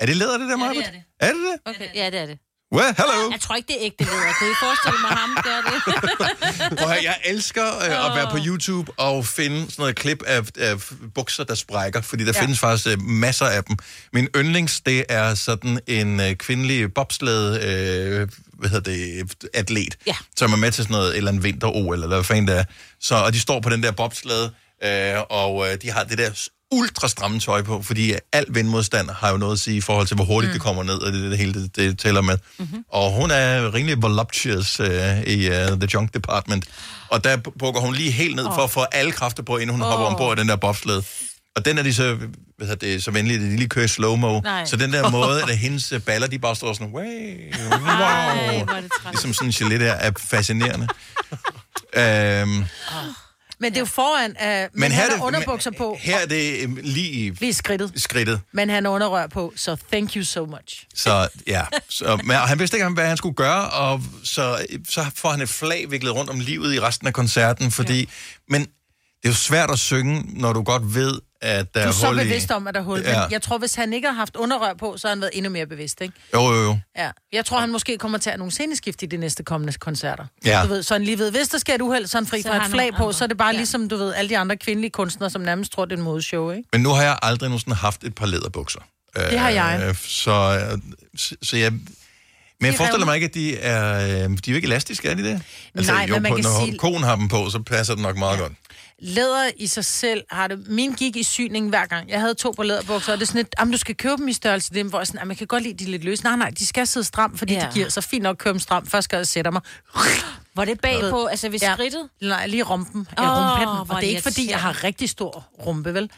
Speaker 1: Er det læder, det der, Maja?
Speaker 3: det.
Speaker 1: Er det Ah. det?
Speaker 3: Okay, ja, det er det.
Speaker 1: Well, hello!
Speaker 3: Jeg tror ikke, det er ægte leder. Kan I forestille mig ham gør det?
Speaker 1: Prøv at høre, jeg elsker øh, at være på YouTube og finde sådan noget klip af, af bukser, der sprækker, fordi der
Speaker 25: Ja.
Speaker 1: ja. findes faktisk øh, masser af dem. Min yndlings, det er sådan en øh, kvindelig bobsled, øh, hvad hedder det, atlet,
Speaker 25: Ja.
Speaker 1: som er med til sådan noget, eller en vinter-OL, eller hvad fanden det er. Så, og de står på den der bobsled, øh, og øh, de har det der ultra stramme tøj på, fordi al vindmodstand har jo noget at sige i forhold til, hvor hurtigt mm. det kommer ned, og det, er det hele det, det tæller med. Mm-hmm. Og hun er rimelig voluptuous øh, i uh, The Junk Department. Og der bukker hun lige helt ned for at få alle kræfter på, inden hun oh. hopper ombord i den der bobsled. Og den er de så, hvad hedder det, så venlige, at de lige kører i slow-mo.
Speaker 25: Nej.
Speaker 1: Så den der måde, at hendes øh, baller, de bare står sådan, way,
Speaker 2: Ej,
Speaker 1: wow.
Speaker 2: hvor er det træt.
Speaker 1: Ligesom sådan en gelé der er fascinerende. øhm,
Speaker 2: Men det er jo foran, øh, men, men
Speaker 1: her
Speaker 2: han
Speaker 1: er
Speaker 2: har
Speaker 1: det-
Speaker 2: underbukser på.
Speaker 1: her er det øh, lige,
Speaker 2: Lige i skridtet.
Speaker 1: skridtet.
Speaker 2: Men han har underrør på, så thank you so much.
Speaker 1: Så ja, så, men han vidste ikke, hvad han skulle gøre, og så, så får han et flag viklet rundt om livet i resten af koncerten, fordi... Ja. Men det er jo svært at synge, når du godt ved, at der
Speaker 2: Du er
Speaker 1: er
Speaker 2: så
Speaker 1: hul i...
Speaker 2: bevidst om, at der er hul. Ja.
Speaker 1: Ja.
Speaker 2: Men jeg tror, hvis han ikke har haft underrør på, så har han været endnu mere bevidst, ikke?
Speaker 1: Jo, jo, jo.
Speaker 2: Ja. Jeg tror, han måske kommer til at have nogle sceneskift i de næste kommende koncerter.
Speaker 1: Ja.
Speaker 2: Du ved, så han lige ved, hvis der sker et uheld, så er han fri
Speaker 3: Så
Speaker 2: for
Speaker 3: har
Speaker 2: et
Speaker 3: han
Speaker 2: flag
Speaker 3: nogle
Speaker 2: på,
Speaker 3: andre.
Speaker 2: så er det bare ja. ligesom, du ved, alle de andre kvindelige kunstnere, som nærmest tror, det er en modeshow, ikke?
Speaker 1: Men nu har jeg aldrig nogensinde haft et par læderbukser.
Speaker 2: Det har jeg.
Speaker 1: Øh, Så, så, så jeg... Men jeg
Speaker 2: De
Speaker 1: forestiller
Speaker 2: revner.
Speaker 1: mig ikke, at de er, øh, de er jo ikke elastiske, er de det? Altså,
Speaker 2: Nej, men man
Speaker 1: på,
Speaker 2: kan
Speaker 1: når
Speaker 2: sige-
Speaker 1: konen har dem på, så passer det nok meget ja. godt.
Speaker 2: Læder i sig selv har det... Min gik i syning hver gang. Jeg havde to på læderbukser, og det er sådan lidt, jamen, du skal købe dem i størrelse dem, hvor jeg sådan, jamen, jeg kan godt lide, de er lidt løse. Nej, nej, de skal sidde stramt, fordi ja.
Speaker 3: Ja.
Speaker 2: det giver så fint nok at køre dem stramt. Først skal jeg sætte mig.
Speaker 3: Var det bagpå, altså ved
Speaker 2: Ja.
Speaker 3: skridtet?
Speaker 2: Nej, lige rumpen.
Speaker 3: Åh,
Speaker 2: Ja, rumpetten.
Speaker 3: hvor
Speaker 2: Og det er ikke, fordi jeg
Speaker 3: irriterende.
Speaker 2: har rigtig stor rumpe, vel?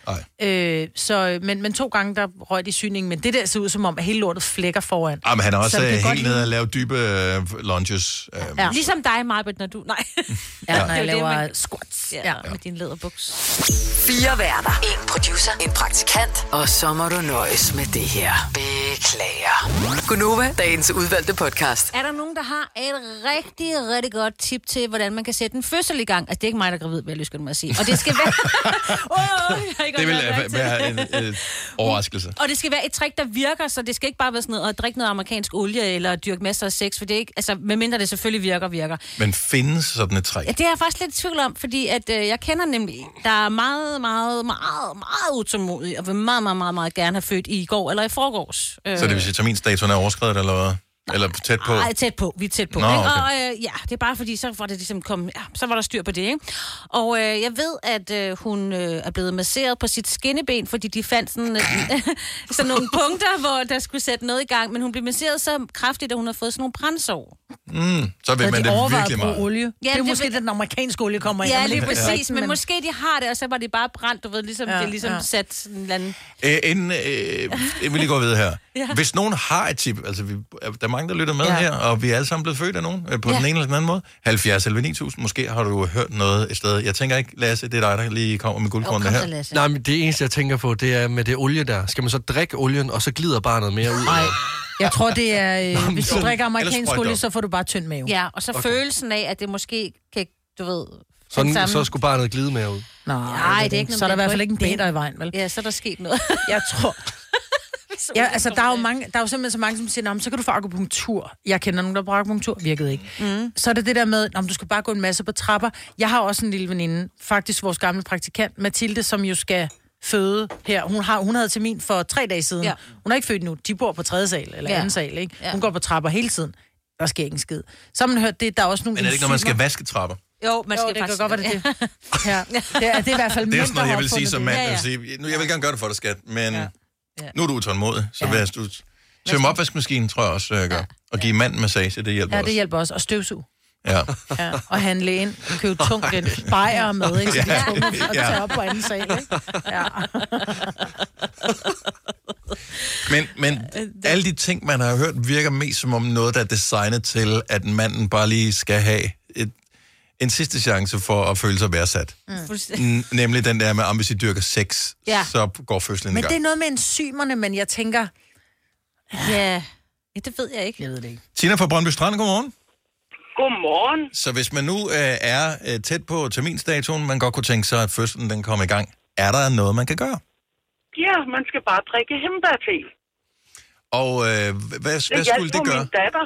Speaker 2: Øh, så, men, men to gange, der røg de syningen. Men det der ser ud som om, at hele lortet flækker foran.
Speaker 1: Ah, men han er også
Speaker 2: Så det
Speaker 1: øh,
Speaker 2: kan godt
Speaker 1: helt
Speaker 2: ligne-
Speaker 1: nede og lave dybe øh, lunges. Øh,
Speaker 3: Ja. Ligesom dig, Marbet, når du... Nej.
Speaker 2: Ja, når
Speaker 3: Det er jo
Speaker 2: jeg
Speaker 3: det,
Speaker 2: laver
Speaker 3: man-
Speaker 2: squats.
Speaker 3: Ja,
Speaker 2: Ja.
Speaker 3: med din læderbuks.
Speaker 5: Fire værter. En producer. En praktikant. Og så må du nøjes med det her. Beklager. Gunova, dagens udvalgte podcast.
Speaker 3: Er der nogen, der har et rigtig, rigtig godt tip til, hvordan man kan sætte en fødsel i gang? Altså, det er ikke mig, der er gravid, vil jeg lyst mig at sige. Og det skal være... oh, jeg
Speaker 1: det vil øh, være en øh, overraskelse.
Speaker 3: Og det skal være et trick, der virker, så det skal ikke bare være sådan noget at drikke noget amerikansk olie eller dyrke masser af sex, for det er ikke, altså, medmindre det selvfølgelig virker, virker.
Speaker 1: Men findes sådan et træ?
Speaker 3: Ja, det er jeg faktisk lidt i tvivl om, fordi at, øh, jeg kender nemlig, en, der er meget, meget, meget, meget utålmodig, og vil meget, meget, meget, meget gerne have født i går eller i forgårs. Øh,
Speaker 1: Så det vil sige, at terminstatuen er overskrevet, eller hvad? Eller tæt på?
Speaker 3: Ej, tæt på. Vi er tæt på.
Speaker 1: Nå,
Speaker 3: ikke?
Speaker 1: okay.
Speaker 3: Og øh, ja, det er bare fordi, så var det ligesom kom, ja, så var der styr på det, ikke? Og øh, jeg ved, at øh, hun øh, er blevet masseret på sit skinneben, fordi de fandt sådan, øh, sådan nogle punkter, hvor der skulle sætte noget i gang, men hun blev masseret så kraftigt, at hun har fået sådan nogle brændsår.
Speaker 1: Mm, så vil
Speaker 2: Havde
Speaker 1: man
Speaker 2: de
Speaker 1: det
Speaker 2: overvejet
Speaker 1: virkelig
Speaker 2: at bruge
Speaker 1: meget.
Speaker 2: olie? Ja, det er måske det, den amerikanske olie kommer ind.
Speaker 3: Ja,
Speaker 2: og man
Speaker 3: lige
Speaker 2: ikke ved
Speaker 3: præcis,
Speaker 2: rigtigt,
Speaker 3: men, måske de har det, og så var det bare brændt, du ved, ligesom,
Speaker 2: Ja,
Speaker 3: ja, det er ligesom
Speaker 2: ja.
Speaker 3: ja. sat sådan en eller anden...
Speaker 1: Æ, inden øh, jeg vil lige gå videre her.
Speaker 3: Ja.
Speaker 1: ja. Hvis nogen har et tip, altså vi, der er mange, der lytter med
Speaker 3: Ja.
Speaker 1: ja. her, og vi er alle sammen blevet født af nogen, øh, på
Speaker 3: Ja.
Speaker 1: ja. den ene eller den anden måde. 70 eller 9000, måske har du hørt noget et sted. Jeg tænker ikke, Lasse, det er dig, der lige kommer med guldkornene her.
Speaker 4: Nej, men det eneste, jeg tænker på, det er med det olie der. Skal man så drikke olien, og så glider barnet mere ud? Nej.
Speaker 2: Jeg tror, det er... Øh,
Speaker 4: men
Speaker 2: hvis du
Speaker 4: så-
Speaker 2: drikker
Speaker 4: Ellers
Speaker 2: amerikansk
Speaker 4: sprøjter.
Speaker 2: olie, så får du bare tynd mave.
Speaker 3: Ja, og så
Speaker 4: Okay.
Speaker 3: okay. følelsen af, at det måske kan, du ved...
Speaker 4: Sådan,
Speaker 3: samme-
Speaker 4: så skulle barnet glide mere ud.
Speaker 2: Nej,
Speaker 3: Nej, det er ikke noget
Speaker 2: Så er der
Speaker 3: med,
Speaker 2: i hvert
Speaker 3: du
Speaker 2: fald ikke en
Speaker 3: ikke
Speaker 2: bæder i vejen, vel?
Speaker 3: Ja, så er der sket noget.
Speaker 2: Jeg tror... Ja, altså, der er, jo mange, der er jo simpelthen så mange, som siger, "Nå, men så kan du få akupunktur. Jeg kender nogen, der bruger akupunktur. Virkede ikke. Mm. Så er det det der med, om du skal bare gå en masse på trapper. Jeg har også en lille veninde, faktisk vores gamle praktikant, Mathilde, som jo skal føde her. Hun, har, hun havde termin for tre dage siden. Ja. Hun er ikke født nu. De bor på tredje sal eller
Speaker 6: Ja.
Speaker 2: ja. anden sal, ikke?
Speaker 6: Ja.
Speaker 2: Hun går på trapper hele tiden. Der sker ikke en skid. Så har man hørt det. Der er også nogle
Speaker 1: Men er det ikke, når man skal
Speaker 2: enzymer-
Speaker 1: vaske trapper?
Speaker 3: Jo, man
Speaker 2: Jo,
Speaker 3: skal
Speaker 2: det kan
Speaker 3: faktisk...
Speaker 2: godt være, det er det. Ja. Det, er, det er i hvert fald
Speaker 1: Det er jo sådan
Speaker 2: mænd, der
Speaker 1: noget, jeg
Speaker 2: har
Speaker 1: vil sige
Speaker 2: opfundet
Speaker 1: som
Speaker 2: det.
Speaker 1: mand.
Speaker 2: Ja,
Speaker 1: Jeg
Speaker 2: ja.
Speaker 1: vil sige, nu, jeg vil gerne gøre det for dig, skat, men nu er du utålmodig, så hvis du tømme opvaskemaskinen, tror jeg også, øh, jeg gør. Og give mand massage, det hjælper
Speaker 2: Ja,
Speaker 1: også.
Speaker 2: det hjælper også. Og støvsug.
Speaker 1: Ja.
Speaker 2: Ja, og handle ind. Købe tungt ind. Bajer med, ikke? Så de
Speaker 1: Ja,
Speaker 2: er tunge og
Speaker 1: ja.
Speaker 2: tage op på anden sal, ikke? Ja.
Speaker 1: Men, men alle de ting, man har hørt, virker mest som om noget, der er designet til, at manden bare lige skal have et, en sidste chance for at føle sig værdsat.
Speaker 3: Mm.
Speaker 1: N- nemlig den der med, om hvis I dyrker sex,
Speaker 2: Ja.
Speaker 1: ja. så går fødslen i
Speaker 2: Men det er
Speaker 1: gang.
Speaker 2: noget med enzymerne, men jeg tænker...
Speaker 3: Ja, ja det ved jeg ikke.
Speaker 2: Jeg ved det ikke.
Speaker 1: Tina fra Brøndby Strand, godmorgen.
Speaker 8: Godmorgen.
Speaker 1: Så hvis man nu øh, er øh, tæt på terminsdatoen, man godt kunne tænke sig, at fødslen den kommer i gang, er der noget, man kan gøre?
Speaker 8: Ja, man skal bare drikke hembærte.
Speaker 1: Og øh, hvad, hvad
Speaker 8: hjalp
Speaker 1: skulle det
Speaker 8: jo
Speaker 1: gøre?
Speaker 8: min datter.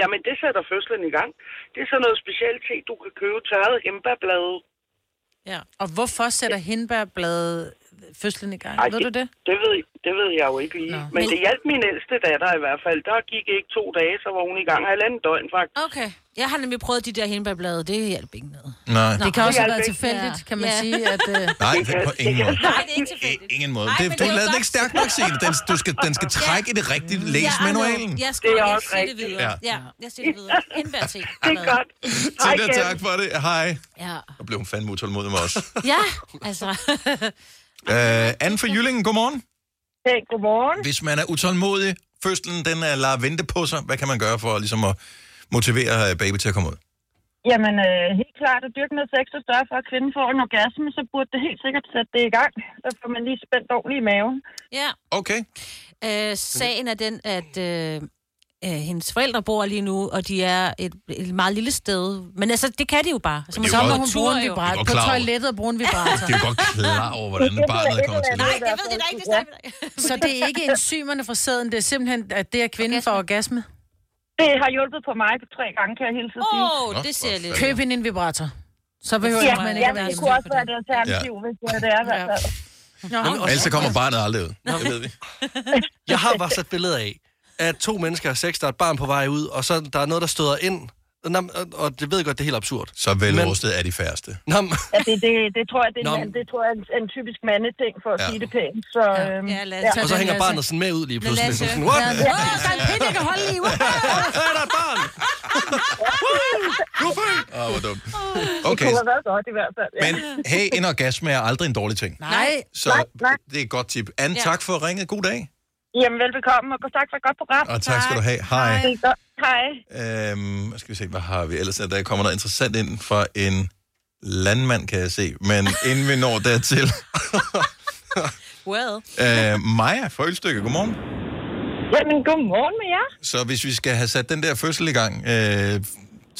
Speaker 8: Jamen, det sætter fødslen i gang. Det er sådan noget specielt te, du kan købe tørret hembærblade.
Speaker 2: Ja. Og hvorfor sætter hindbærbladet fødslen i gang? Ved du det?
Speaker 8: Det ved, det ved jeg jo ikke lige. Men, Men det hjalp min ældste datter i hvert fald. Der gik ikke to dage, så var hun i gang halvanden døgn faktisk.
Speaker 3: Okay. Jeg har nemlig prøvet de der hindbærblade, det hjalp ikke noget.
Speaker 1: Nej.
Speaker 2: Det kan
Speaker 3: Det
Speaker 2: også have været
Speaker 3: hjælper ikke.
Speaker 2: tilfældigt,
Speaker 3: Ja.
Speaker 2: kan man
Speaker 3: Ja.
Speaker 2: sige, at... øh,
Speaker 1: Nej,
Speaker 8: Det kan-
Speaker 1: på
Speaker 8: det
Speaker 1: ingen
Speaker 8: kan-
Speaker 1: måde.
Speaker 8: Nej,
Speaker 3: det er ikke
Speaker 1: tilfældigt. Ingen måde.
Speaker 8: Nej,
Speaker 1: det,
Speaker 8: men
Speaker 1: du
Speaker 8: det er jo
Speaker 1: lavede den
Speaker 8: godt.
Speaker 1: ikke stærk nok, Signe. Den, du skal, den skal trække i det rigtige læs manualen.
Speaker 3: Jeg skal
Speaker 8: Det er
Speaker 3: jeg
Speaker 8: også
Speaker 3: siger det
Speaker 8: rigtigt.
Speaker 3: videre. Ja.
Speaker 8: Ja.
Speaker 3: ja, jeg siger det videre. Hindbærte.
Speaker 8: Det er godt. Hej,
Speaker 1: Tina, tak for det. Hej.
Speaker 3: Ja.
Speaker 1: Nu blev hun fandme utålmodig med os.
Speaker 3: Ja, altså.
Speaker 1: Øh, Anne fra Jyllingen, godmorgen.
Speaker 25: Hey, godmorgen.
Speaker 1: Hvis man er utålmodig, fødslen den er lader vente på sig, hvad kan man gøre for ligesom at motivere øh, baby til at komme ud?
Speaker 25: Jamen, øh, helt klart at dyrke noget sex og sørge for, at kvinden får en orgasme, så burde det helt sikkert sætte det i gang. Så får man lige spændt ordentligt i maven.
Speaker 3: Ja.
Speaker 1: Okay.
Speaker 3: Øh, sagen er den, at øh, øh, hendes forældre bor lige nu, og de er et, et meget lille sted. Men altså, det kan de jo bare.
Speaker 1: Men det er
Speaker 2: Så
Speaker 1: jo
Speaker 2: må
Speaker 1: godt-
Speaker 2: hun
Speaker 1: Det er
Speaker 2: bruge en
Speaker 1: jo
Speaker 2: vibrat.
Speaker 1: godt
Speaker 2: På
Speaker 1: klar over.
Speaker 2: toilettet og bruge en vibrator.
Speaker 1: Det er jo godt klar over, hvordan barnet kommer til.
Speaker 3: Nej, det ved jeg da ikke, det snakker vi da ikke.
Speaker 2: Så det er ikke enzymerne fra sæden, det er simpelthen, at det er kvinden for orgasme?
Speaker 25: Det har hjulpet på mig på tre gange, kan jeg hele tiden sige.
Speaker 2: Åh,
Speaker 25: det ser lidt.
Speaker 2: Køb hende en vibrator. Så behøver
Speaker 25: ja,
Speaker 2: man
Speaker 25: men
Speaker 2: ikke
Speaker 25: ja,
Speaker 2: at være
Speaker 25: det
Speaker 2: hjemme.
Speaker 25: kunne også være et alternativ, hvis det er det, er, i hvert fald.
Speaker 1: Nå, Ellers så kommer barnet aldrig ud. Det ved vi.
Speaker 4: Jeg har bare sat billeder af, at to mennesker har sex, der er et barn på vej ud, og så der er noget, der støder ind. Nå, og- Og det ved jeg godt, det er helt absurd.
Speaker 1: Så velrustet er de færreste.
Speaker 4: Nå, men-
Speaker 25: Ja, det, det, det, tror jeg, det, er
Speaker 4: Nå,
Speaker 25: en,
Speaker 4: men-
Speaker 25: det tror jeg er en, en typisk mandeting, for at
Speaker 4: Ja.
Speaker 25: sige det pænt. Så, øhm, ja,
Speaker 3: lad
Speaker 4: og så hænger barnet sådan med ud lige pludselig.
Speaker 25: Lasse.
Speaker 4: Lasse. Sådan, what?
Speaker 25: Ja,
Speaker 4: Ja.
Speaker 25: Åh, der er en pind, jeg kan holde i. Wow.
Speaker 4: er der et barn!
Speaker 1: Du er født! Åh, Ah, hvor dumt.
Speaker 25: Det
Speaker 1: Okay,
Speaker 25: kunne have været godt i hvert fald. Ja.
Speaker 1: men hey, en orgasme er aldrig en dårlig ting.
Speaker 25: Nej.
Speaker 1: Så
Speaker 25: Nej, nej.
Speaker 1: det er et godt tip. Anne,
Speaker 25: Ja.
Speaker 1: tak for at ringe. God dag.
Speaker 25: Jamen, velbekomme, og tak for et godt program.
Speaker 1: Og tak skal du have. Hej.
Speaker 25: Det er godt. Hej.
Speaker 1: Øhm, hvad skal vi se, hvad har vi ellers? Der kommer noget interessant ind fra en landmand, kan jeg se. Men inden vi når dertil.
Speaker 3: Well.
Speaker 1: øh, Maja fra Ølstykke, godmorgen.
Speaker 25: Jamen, godmorgen med jer.
Speaker 1: Så hvis vi skal have sat den der fødsel i gang, øh,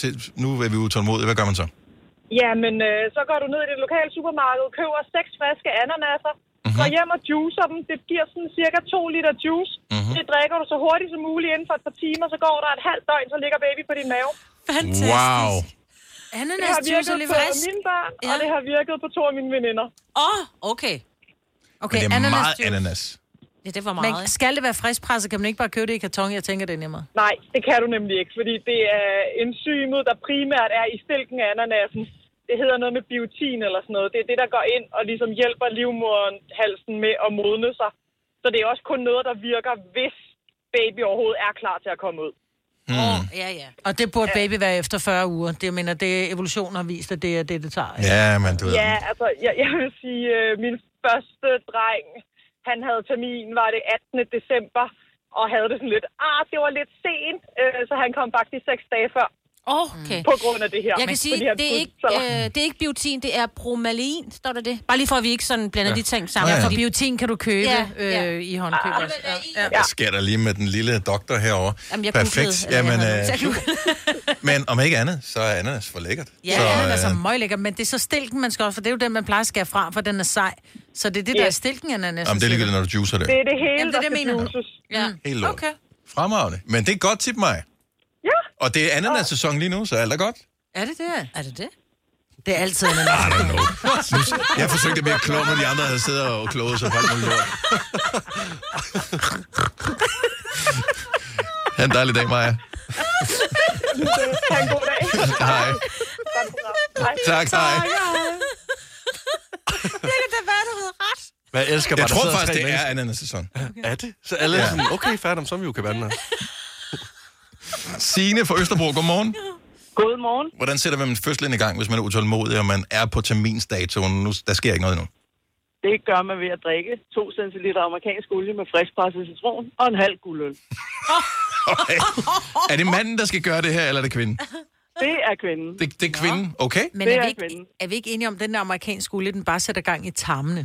Speaker 1: til, nu er vi utålmodige, hvad gør man så?
Speaker 17: Jamen, øh, så går du ned i det lokale supermarked, køber seks friske ananaser,
Speaker 1: Mhm.
Speaker 17: mm-hmm. går hjem og juicer dem. Det giver sådan cirka 2 liter juice.
Speaker 1: Mhm.
Speaker 17: Mm-hmm. Det drikker du så hurtigt som muligt inden for et par timer, så går der et halvt døgn, så ligger baby på din mave.
Speaker 3: Fantastisk.
Speaker 1: Wow.
Speaker 17: Det har
Speaker 3: Ananasjuice
Speaker 17: virket
Speaker 3: er lidt
Speaker 17: på
Speaker 3: frisk.
Speaker 17: mine børn, ja. og det har virket på to af mine veninder.
Speaker 3: Åh, oh, okay.
Speaker 1: Men det er meget ananas.
Speaker 3: Ja, det var
Speaker 2: Men skal det være friskpresset, kan man ikke bare købe det i karton? Jeg tænker, det er nemmere.
Speaker 17: Nej, det kan du nemlig ikke, fordi det er enzymet, der primært er i stilken af ananasen. Det hedder noget med biotin eller sådan noget. Det er det, der går ind og ligesom hjælper livmoderen halsen med at modne sig. Så det er også kun noget, der virker, hvis baby overhovedet er klar til at komme ud.
Speaker 2: Mm.
Speaker 3: Ja, ja.
Speaker 2: Og det burde baby være efter 40 uger. Det, jeg mener, det er evolutionen har vist, at det er det, det tager. ikke?
Speaker 1: Ja, men du ved.
Speaker 17: Ja, altså, jeg, jeg vil sige, øh, min første dreng, han havde termin, var det 18. december, og havde det sådan lidt, ah, det var lidt sent, øh, så han kom faktisk seks dage før.
Speaker 3: Okay.
Speaker 17: På grund af det her.
Speaker 3: Jeg kan sige,
Speaker 17: Fordi han
Speaker 3: det er, ikke,
Speaker 17: skulle-
Speaker 3: øh, det er ikke biotin, det er bromalin, står der det? Bare lige for, at vi ikke sådan blander
Speaker 1: Ja.
Speaker 3: ja. de ting sammen.
Speaker 1: Ja, ja.
Speaker 2: For biotin kan du købe øh, i håndkøb også.
Speaker 3: Ja.
Speaker 1: Hvad sker der lige med den lille doktor herovre?
Speaker 2: Jamen, jeg
Speaker 1: Perfekt.
Speaker 2: googlede,
Speaker 1: ah, Jamen,
Speaker 2: eller
Speaker 1: øh,
Speaker 2: jeg
Speaker 1: men om ikke andet, så er ananas for lækkert.
Speaker 2: Ja, så, øh... altså møglækker, men det er så stilken, man skal også, for det er jo den, man plejer at skære fra, for den er sej. Så det er det, der
Speaker 1: Ja.
Speaker 2: er stilken, han er næsten
Speaker 1: Jamen, det er ligegyldigt, når du juicer det. Det er
Speaker 17: det hele,
Speaker 2: Jamen, det er det, jeg
Speaker 17: der
Speaker 2: mener. Ja.
Speaker 1: Helt lort.
Speaker 2: Okay.
Speaker 1: Fremragende. Men det er godt tip, mig. Ja. Og det er ananas-sæson lige nu, så alt er godt.
Speaker 2: Er det det? Er det det? Det er altid en
Speaker 1: Jeg forsøgte at blive klog, når de andre havde siddet og kloget sig på alt muligt lort. Ha' en dejlig dag, Maja.
Speaker 17: Ha' en god dag.
Speaker 1: Hej.
Speaker 17: Hej.
Speaker 1: Tak, hej.
Speaker 2: Det kan da være, du havde ret.
Speaker 4: Men jeg elsker bare,
Speaker 1: Jeg
Speaker 4: der
Speaker 1: tror
Speaker 4: sidder
Speaker 1: faktisk,
Speaker 4: tre
Speaker 1: det er
Speaker 4: mennesker.
Speaker 1: ananas-sæson.
Speaker 4: Er det? Så alle er
Speaker 1: Ja.
Speaker 4: sådan, okay, færdig om som vi jo kan være
Speaker 1: Signe fra Østerbro, godmorgen.
Speaker 17: Godmorgen.
Speaker 1: Hvordan sætter man fødslen i gang, hvis man er utålmodig, og man er på terminsdatoen? Nu, der sker ikke noget endnu.
Speaker 17: Det gør man ved at drikke 2 cl amerikansk olie med friskpresset citron og en halv guldøl.
Speaker 1: Okay. Er det manden, der skal gøre det her, eller er det kvinden?
Speaker 17: Det er kvinden.
Speaker 1: Det, det er kvinden, okay?
Speaker 2: Men er vi, ikke, er vi ikke enige om, at den der amerikanske skole, den bare sætter gang i tarmene?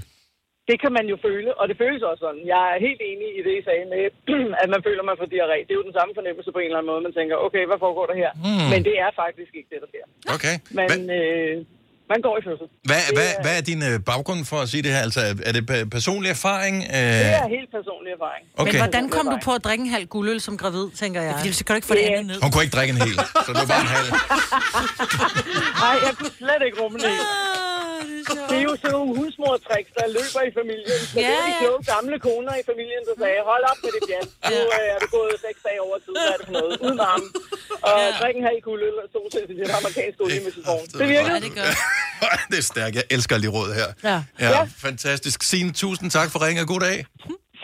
Speaker 17: Det kan man jo føle, og det føles også sådan. Jeg er helt enig i det, I sagde med, at man føler, man får diarré. Det er jo den samme fornemmelse på en eller anden måde. Man tænker, okay, hvad foregår der her?
Speaker 1: Mm.
Speaker 17: Men det er faktisk ikke det, der sker.
Speaker 1: Okay.
Speaker 17: Man, øh, man går i fødsel.
Speaker 1: Hvad, hvad, hvad er din øh, baggrund for at sige det her? Altså, er- er det pe- personlig erfaring? Øh,
Speaker 17: Det er helt personlig erfaring.
Speaker 1: Okay.
Speaker 2: Men hvordan kom du på at drikke en halv guldøl som gravid, tænker jeg? Fordi så kan du ikke få
Speaker 17: Ja.
Speaker 2: det andet ned.
Speaker 1: Hun kunne ikke drikke en hel, så det var bare en halv.
Speaker 17: Nej, jeg kunne slet ikke rumme det. Det er jo sådan nogle husmortricks, der løber i familien. Så det
Speaker 2: Ja,
Speaker 17: er de
Speaker 2: ja.
Speaker 17: kloge gamle koner i familien, der sagde, hold op med det pjat. Nu øh, er du gået seks dage over tid, hvad er det for noget? Uden arm. Og drik en halv kugle øl og to til det amerikanske olie med citron. Det virkede.
Speaker 1: Ja, det det er stærkt. Jeg elsker lige råd her.
Speaker 17: Ja.
Speaker 1: ja.
Speaker 17: Ja.
Speaker 1: Fantastisk. Signe, tusind tak for ringen, og god dag.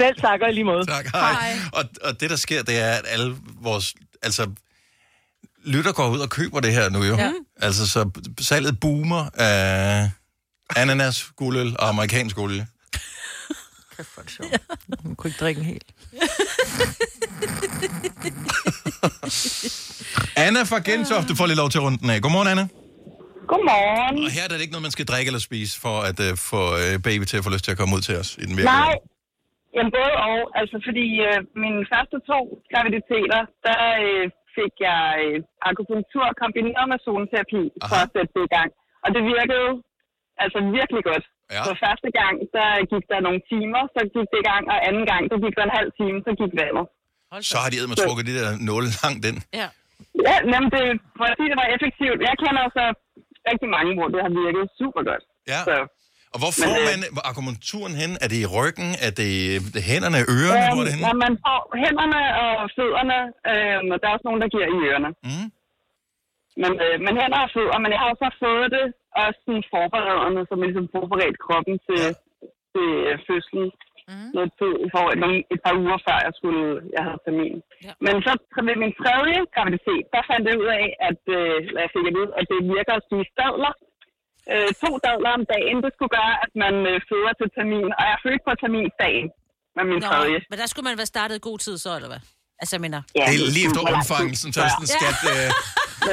Speaker 17: Selv tak, og i lige måde.
Speaker 1: Tak, hej. hej. Og, og det, der sker, det er, at alle vores... Altså, lytter går ud og køber det her nu jo.
Speaker 17: Ja.
Speaker 1: Altså, så salget boomer af ananas, guldøl og amerikansk olie.
Speaker 2: Hun kunne ikke drikke en hel.
Speaker 1: Anna fra Gentofte får lige lov til at runde den af. Godmorgen, Anna.
Speaker 6: Godmorgen.
Speaker 1: Og her er det ikke noget, man skal drikke eller spise, for at uh, få uh, baby til at få lyst til at komme ud til os i den virkelige
Speaker 6: Nej, jamen både og. Altså fordi øh, mine første to graviditeter, der øh, fik jeg øh, akupunktur kombineret med zoneterapi for at sætte det i gang. Og det virkede altså virkelig godt.
Speaker 1: Ja.
Speaker 6: Så første gang, der gik der nogle timer, så gik det i gang, og anden gang, så gik der en halv time, så gik vandet.
Speaker 1: Så har de med trukket de der nåle langt ind.
Speaker 6: Ja. Ja, jamen det, for at sige, det var effektivt. Jeg kender altså rigtig mange, hvor det har virket super godt.
Speaker 1: Ja.
Speaker 6: Så,
Speaker 1: Og hvor får
Speaker 6: Men, øh,
Speaker 1: man akupunkturen hen? Er det i ryggen? Er det i øh, hænderne, ørerne? Hvor er det henne?
Speaker 6: Når man får hænderne og fødderne, øh, og der er også nogen, der giver i ørerne.
Speaker 1: Mm.
Speaker 6: Men, øh, men hænder og fødder, men jeg har jo så fået det også sådan forberedende, så man ligesom forberedt kroppen til, til øh, fødslen. Mm. Noget tid, for nogle, et par uger før jeg skulle, jeg havde termin. Ja. Men så ved min tredje graviditet, der fandt jeg ud af, at, øh, eller jeg fik at vide, at det virker at spise dadler. Øh, to dadler om dagen, det skulle gøre, at man øh, føder til termin, og jeg fødte på terminsdagen med min tredje.
Speaker 3: men der skulle man være startet i god tid så, eller hvad? Altså, jeg mener...
Speaker 6: Ja,
Speaker 1: Det er lige efter undfangelsen, så er det sådan en skat... Øh, så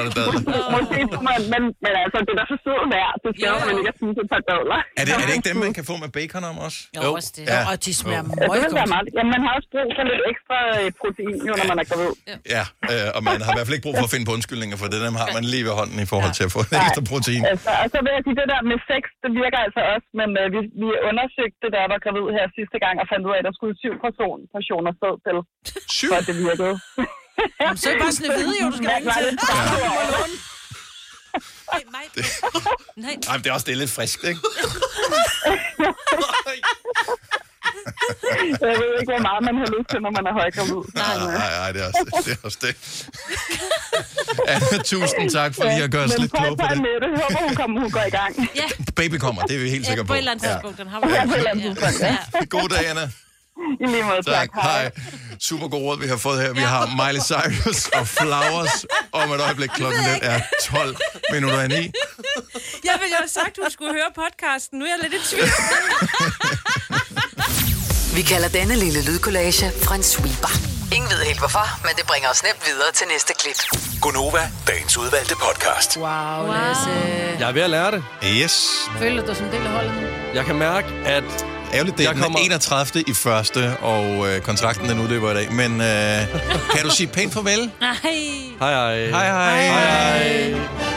Speaker 1: er det dadler.
Speaker 6: Måske skulle man, men, men altså, det er da så sød værd. Det skal
Speaker 1: Jo,
Speaker 6: jo,
Speaker 1: jo.
Speaker 6: man ikke at spise et par dadler.
Speaker 1: er, det, er det ikke dem, man kan få med bacon om også?
Speaker 6: Jo, også det. Jo, og
Speaker 2: de
Speaker 6: Ja, det vil være meget. Jamen, man har også brug for lidt ekstra øh, protein, jo, når man er gravid.
Speaker 1: Ja, øh, og man har i hvert fald ikke brug for at finde på undskyldninger, for det dem har man lige ved hånden i forhold til at få en ekstra protein.
Speaker 6: Altså, og så vil jeg sige, det der med sex, det virker altså også, men øh, vi, vi undersøgte det, da jeg var gravid her sidste gang, og fandt ud af, at der skulle syv person, portioner sæd til,
Speaker 1: syv?
Speaker 6: for at det virkede.
Speaker 2: Jamen, så er det bare sådan et hvide, jo, du skal ringe til.
Speaker 6: Ja.
Speaker 3: Det er mig. Nej.
Speaker 1: Ej, men det er også det er lidt frisk, ikke?
Speaker 17: Jeg ved ikke, hvor meget man har lyst til, når man er højgravid.
Speaker 1: Nej, nej,
Speaker 6: øh,
Speaker 1: nej, det er også det. Er også det. Anna, tusind tak, fordi jeg gør os lidt klog på
Speaker 17: Men prøv at tage
Speaker 1: det.
Speaker 17: med det. Håber, hun, kommer, hun går i gang.
Speaker 3: Ja.
Speaker 1: Baby kommer, det er vi helt sikre på.
Speaker 3: på et eller andet
Speaker 1: Ja.
Speaker 3: tidspunkt. Den har
Speaker 17: Ja, på et eller andet tidspunkt, ja.
Speaker 1: God dag, Anna.
Speaker 17: I lige måde, tak.
Speaker 1: Hej. Super god råd, vi har fået her. Vi har Miley Cyrus og Flowers om et øjeblik. Klokken den er 12 minutter i ni.
Speaker 3: Jeg ville jo have sagt, hun skulle høre podcasten. Nu er jeg lidt i tvivl.
Speaker 5: Vi kalder denne lille lydkollage Frans sweeper. Ingen ved helt hvorfor, men det bringer os nemt videre til næste klip.
Speaker 20: Gunova, dagens udvalgte podcast.
Speaker 2: Wow, Lasse.
Speaker 4: Jeg er ved at lære det.
Speaker 1: Yes.
Speaker 2: Føler du dig som en del af holdet nu?
Speaker 4: Jeg kan mærke, at...
Speaker 1: Ærgerligt, det er den 31. i første, og øh, kontrakten den udløber i dag. Men øh, kan du sige pænt farvel?
Speaker 3: Nej.
Speaker 4: Hej hej.
Speaker 1: Hej hej.
Speaker 4: Hej hej.